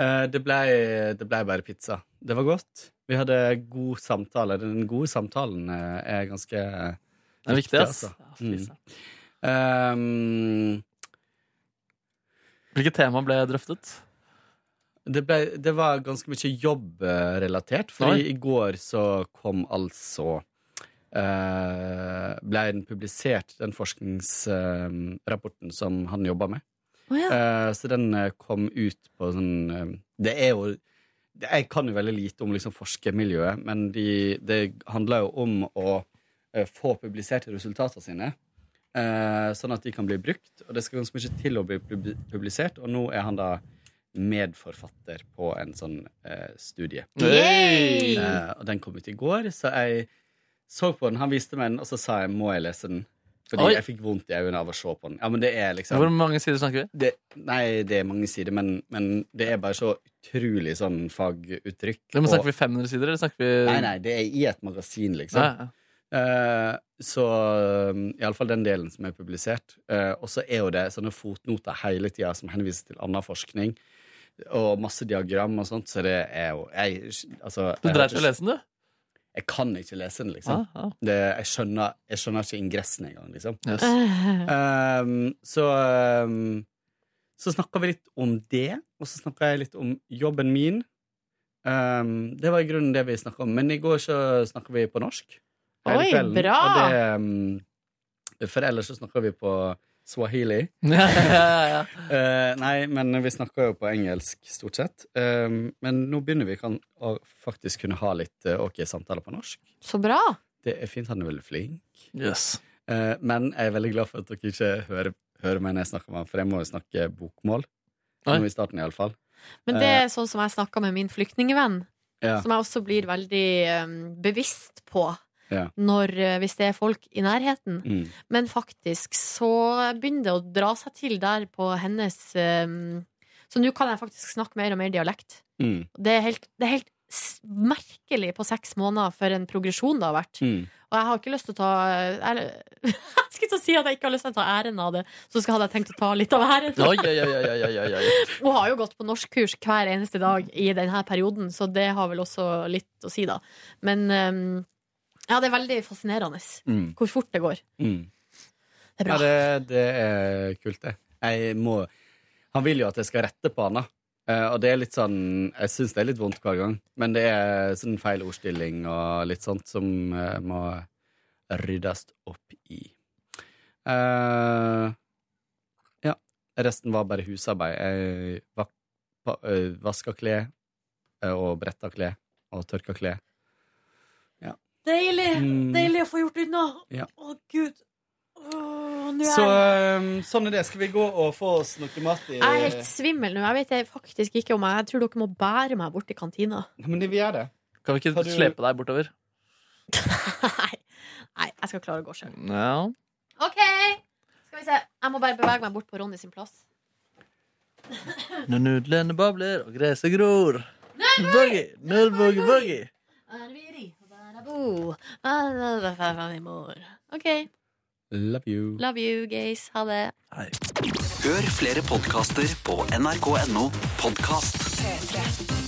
K: Eh, det, ble, det ble bare pizza. Det var godt. Vi hadde god samtale. Den gode samtalen eh, er ganske altså.
D: Den er viktig, ass.
K: Mm.
D: Hvilket tema ble drøftet?
K: Det, ble, det var ganske mye jobbrelatert, fordi
D: Oi.
K: i går så kom altså eh, Ble den publisert, den forskningsrapporten som han jobba med.
C: Å ja.
K: Eh, så den eh, kom ut på sånn eh, Det er jo det, Jeg kan jo veldig lite om liksom, forskermiljøet, men de, det handler jo om å eh, få publisert resultatene sine. eh, sånn at de kan bli brukt. Og det skal ganske mye til å bli pub- publisert, og nå er han da medforfatter på en sånn eh, studie.
C: Mm.
D: Yay!
K: Eh, og den kom ut i går, så jeg så på den. Han viste meg den, og så sa jeg må jeg lese den. Fordi
D: Oi.
K: jeg fikk vondt i øynene av å se på den. Ja, men det er liksom
D: Hvor mange sider snakker vi?
K: det, nei, det er mange sider, men, men det er bare så utrolig sånn faguttrykk.
D: Ja, men
K: og-
D: snakker vi 500 sider, eller snakker vi
K: Nei, nei, det er i et magasin, liksom.
D: Ja,
K: Eh, så um, iallfall den delen som er publisert. Eh, og så er jo det sånne fotnoter hele tida som henviser til annen forskning. Og masse diagram og sånt, så det er jo jeg, altså,
D: Du
K: jeg
D: dreit i å
K: har ikke-
D: lese den, du?
K: Jeg kan ikke lese den,
D: Ah,
K: liksom.
D: ah.
K: Det, jeg, skjønner, jeg skjønner ikke ingressen engang, liksom.
D: Yes.
C: Eh.
K: Um, så um, så snakka vi litt om det, og så snakka jeg litt om jobben Ehm, min. Um, det var i grunnen det vi snakka om. Men i går så snakka vi på norsk. hele
C: Oi,
K: kvelden.
C: bra!
K: Og det, mm, for ellers så snakker vi på swahili. Eh, nei, men vi snakker jo på engelsk stort sett. Eh, men nå begynner vi kan, å faktisk kunne ha litt eh, ok samtaler på norsk.
C: Så bra.
K: Det er fint, han er veldig flink.
D: Yes.
K: Eh, men jeg er veldig glad for at dere ikke hører, hører meg når jeg snakker med han, for jeg må jo snakke bokmål. Nå i starten, iallfall.
C: Men det er sånn som jeg snakka med min flyktningvenn,
K: Eh. Ja.
C: som jeg også blir veldig eh, bevisst på
K: ja.
C: når, eh, hvis det er folk i nærheten.
K: Mm.
C: Men faktisk så begynner det å dra seg til der på hennes eh, Så nå kan jeg faktisk snakke mer og mer dialekt.
K: Mm.
C: Det er helt, det er helt s- merkelig på seks måneder for en progresjon det har vært.
K: Mm.
C: Og jeg har ikke lyst til å ta Jeg, jeg skulle til å si at jeg ikke har lyst til å ta æren av det, så hadde jeg tenkt å ta litt av æren.
D: Oi, oi, oi, oi, oi, oi, oi.
C: Hun har jo gått på norskkurs hver eneste dag i denne perioden, så det har vel også litt å si, da. Men ehm, ja, det er veldig fascinerende
K: Mm.
C: hvor fort det går.
K: Mm.
C: Det er bra.
K: Ja, det, det er kult, det. Jeg må, han vil jo at jeg skal rette på han, da. Eh, og det er litt sånn Jeg syns det er litt vondt hver gang, men det er sånn feil ordstilling og litt sånt som eh, må ryddes opp i. Eh, ja. Resten var bare husarbeid. Jeg vak, pa, eh, vaska klær eh, og bretta klær og tørka klær. Ja.
C: Deilig!
K: Mm.
C: Deilig å få gjort unna!
K: Ja.
C: Å, gud. Åh, nå er
K: Så
C: jeg-
K: eh, sånn er det. Skal vi gå og få oss noe mat i
C: jeg er helt svimmel nå. Jeg vet jeg faktisk ikke om jeg Jeg tror dere må bære meg bort til kantina.
K: Men vi gjør det.
D: Kan vi ikke
C: Har du-
D: slepe deg bortover?
C: Nei, jeg skal klare å gå sjøl.
D: Ja.
C: OK! Skal vi se. Jeg må bare bevege meg bort på Ronny sin plass.
D: Når nudlene babler og gresset gror. Nullboogie, nullboogie, boogie.
C: Oh, OK.
K: Love you.
C: Love you, gays. Ha det.
A: Hør flere podkaster på nrk.no podkast.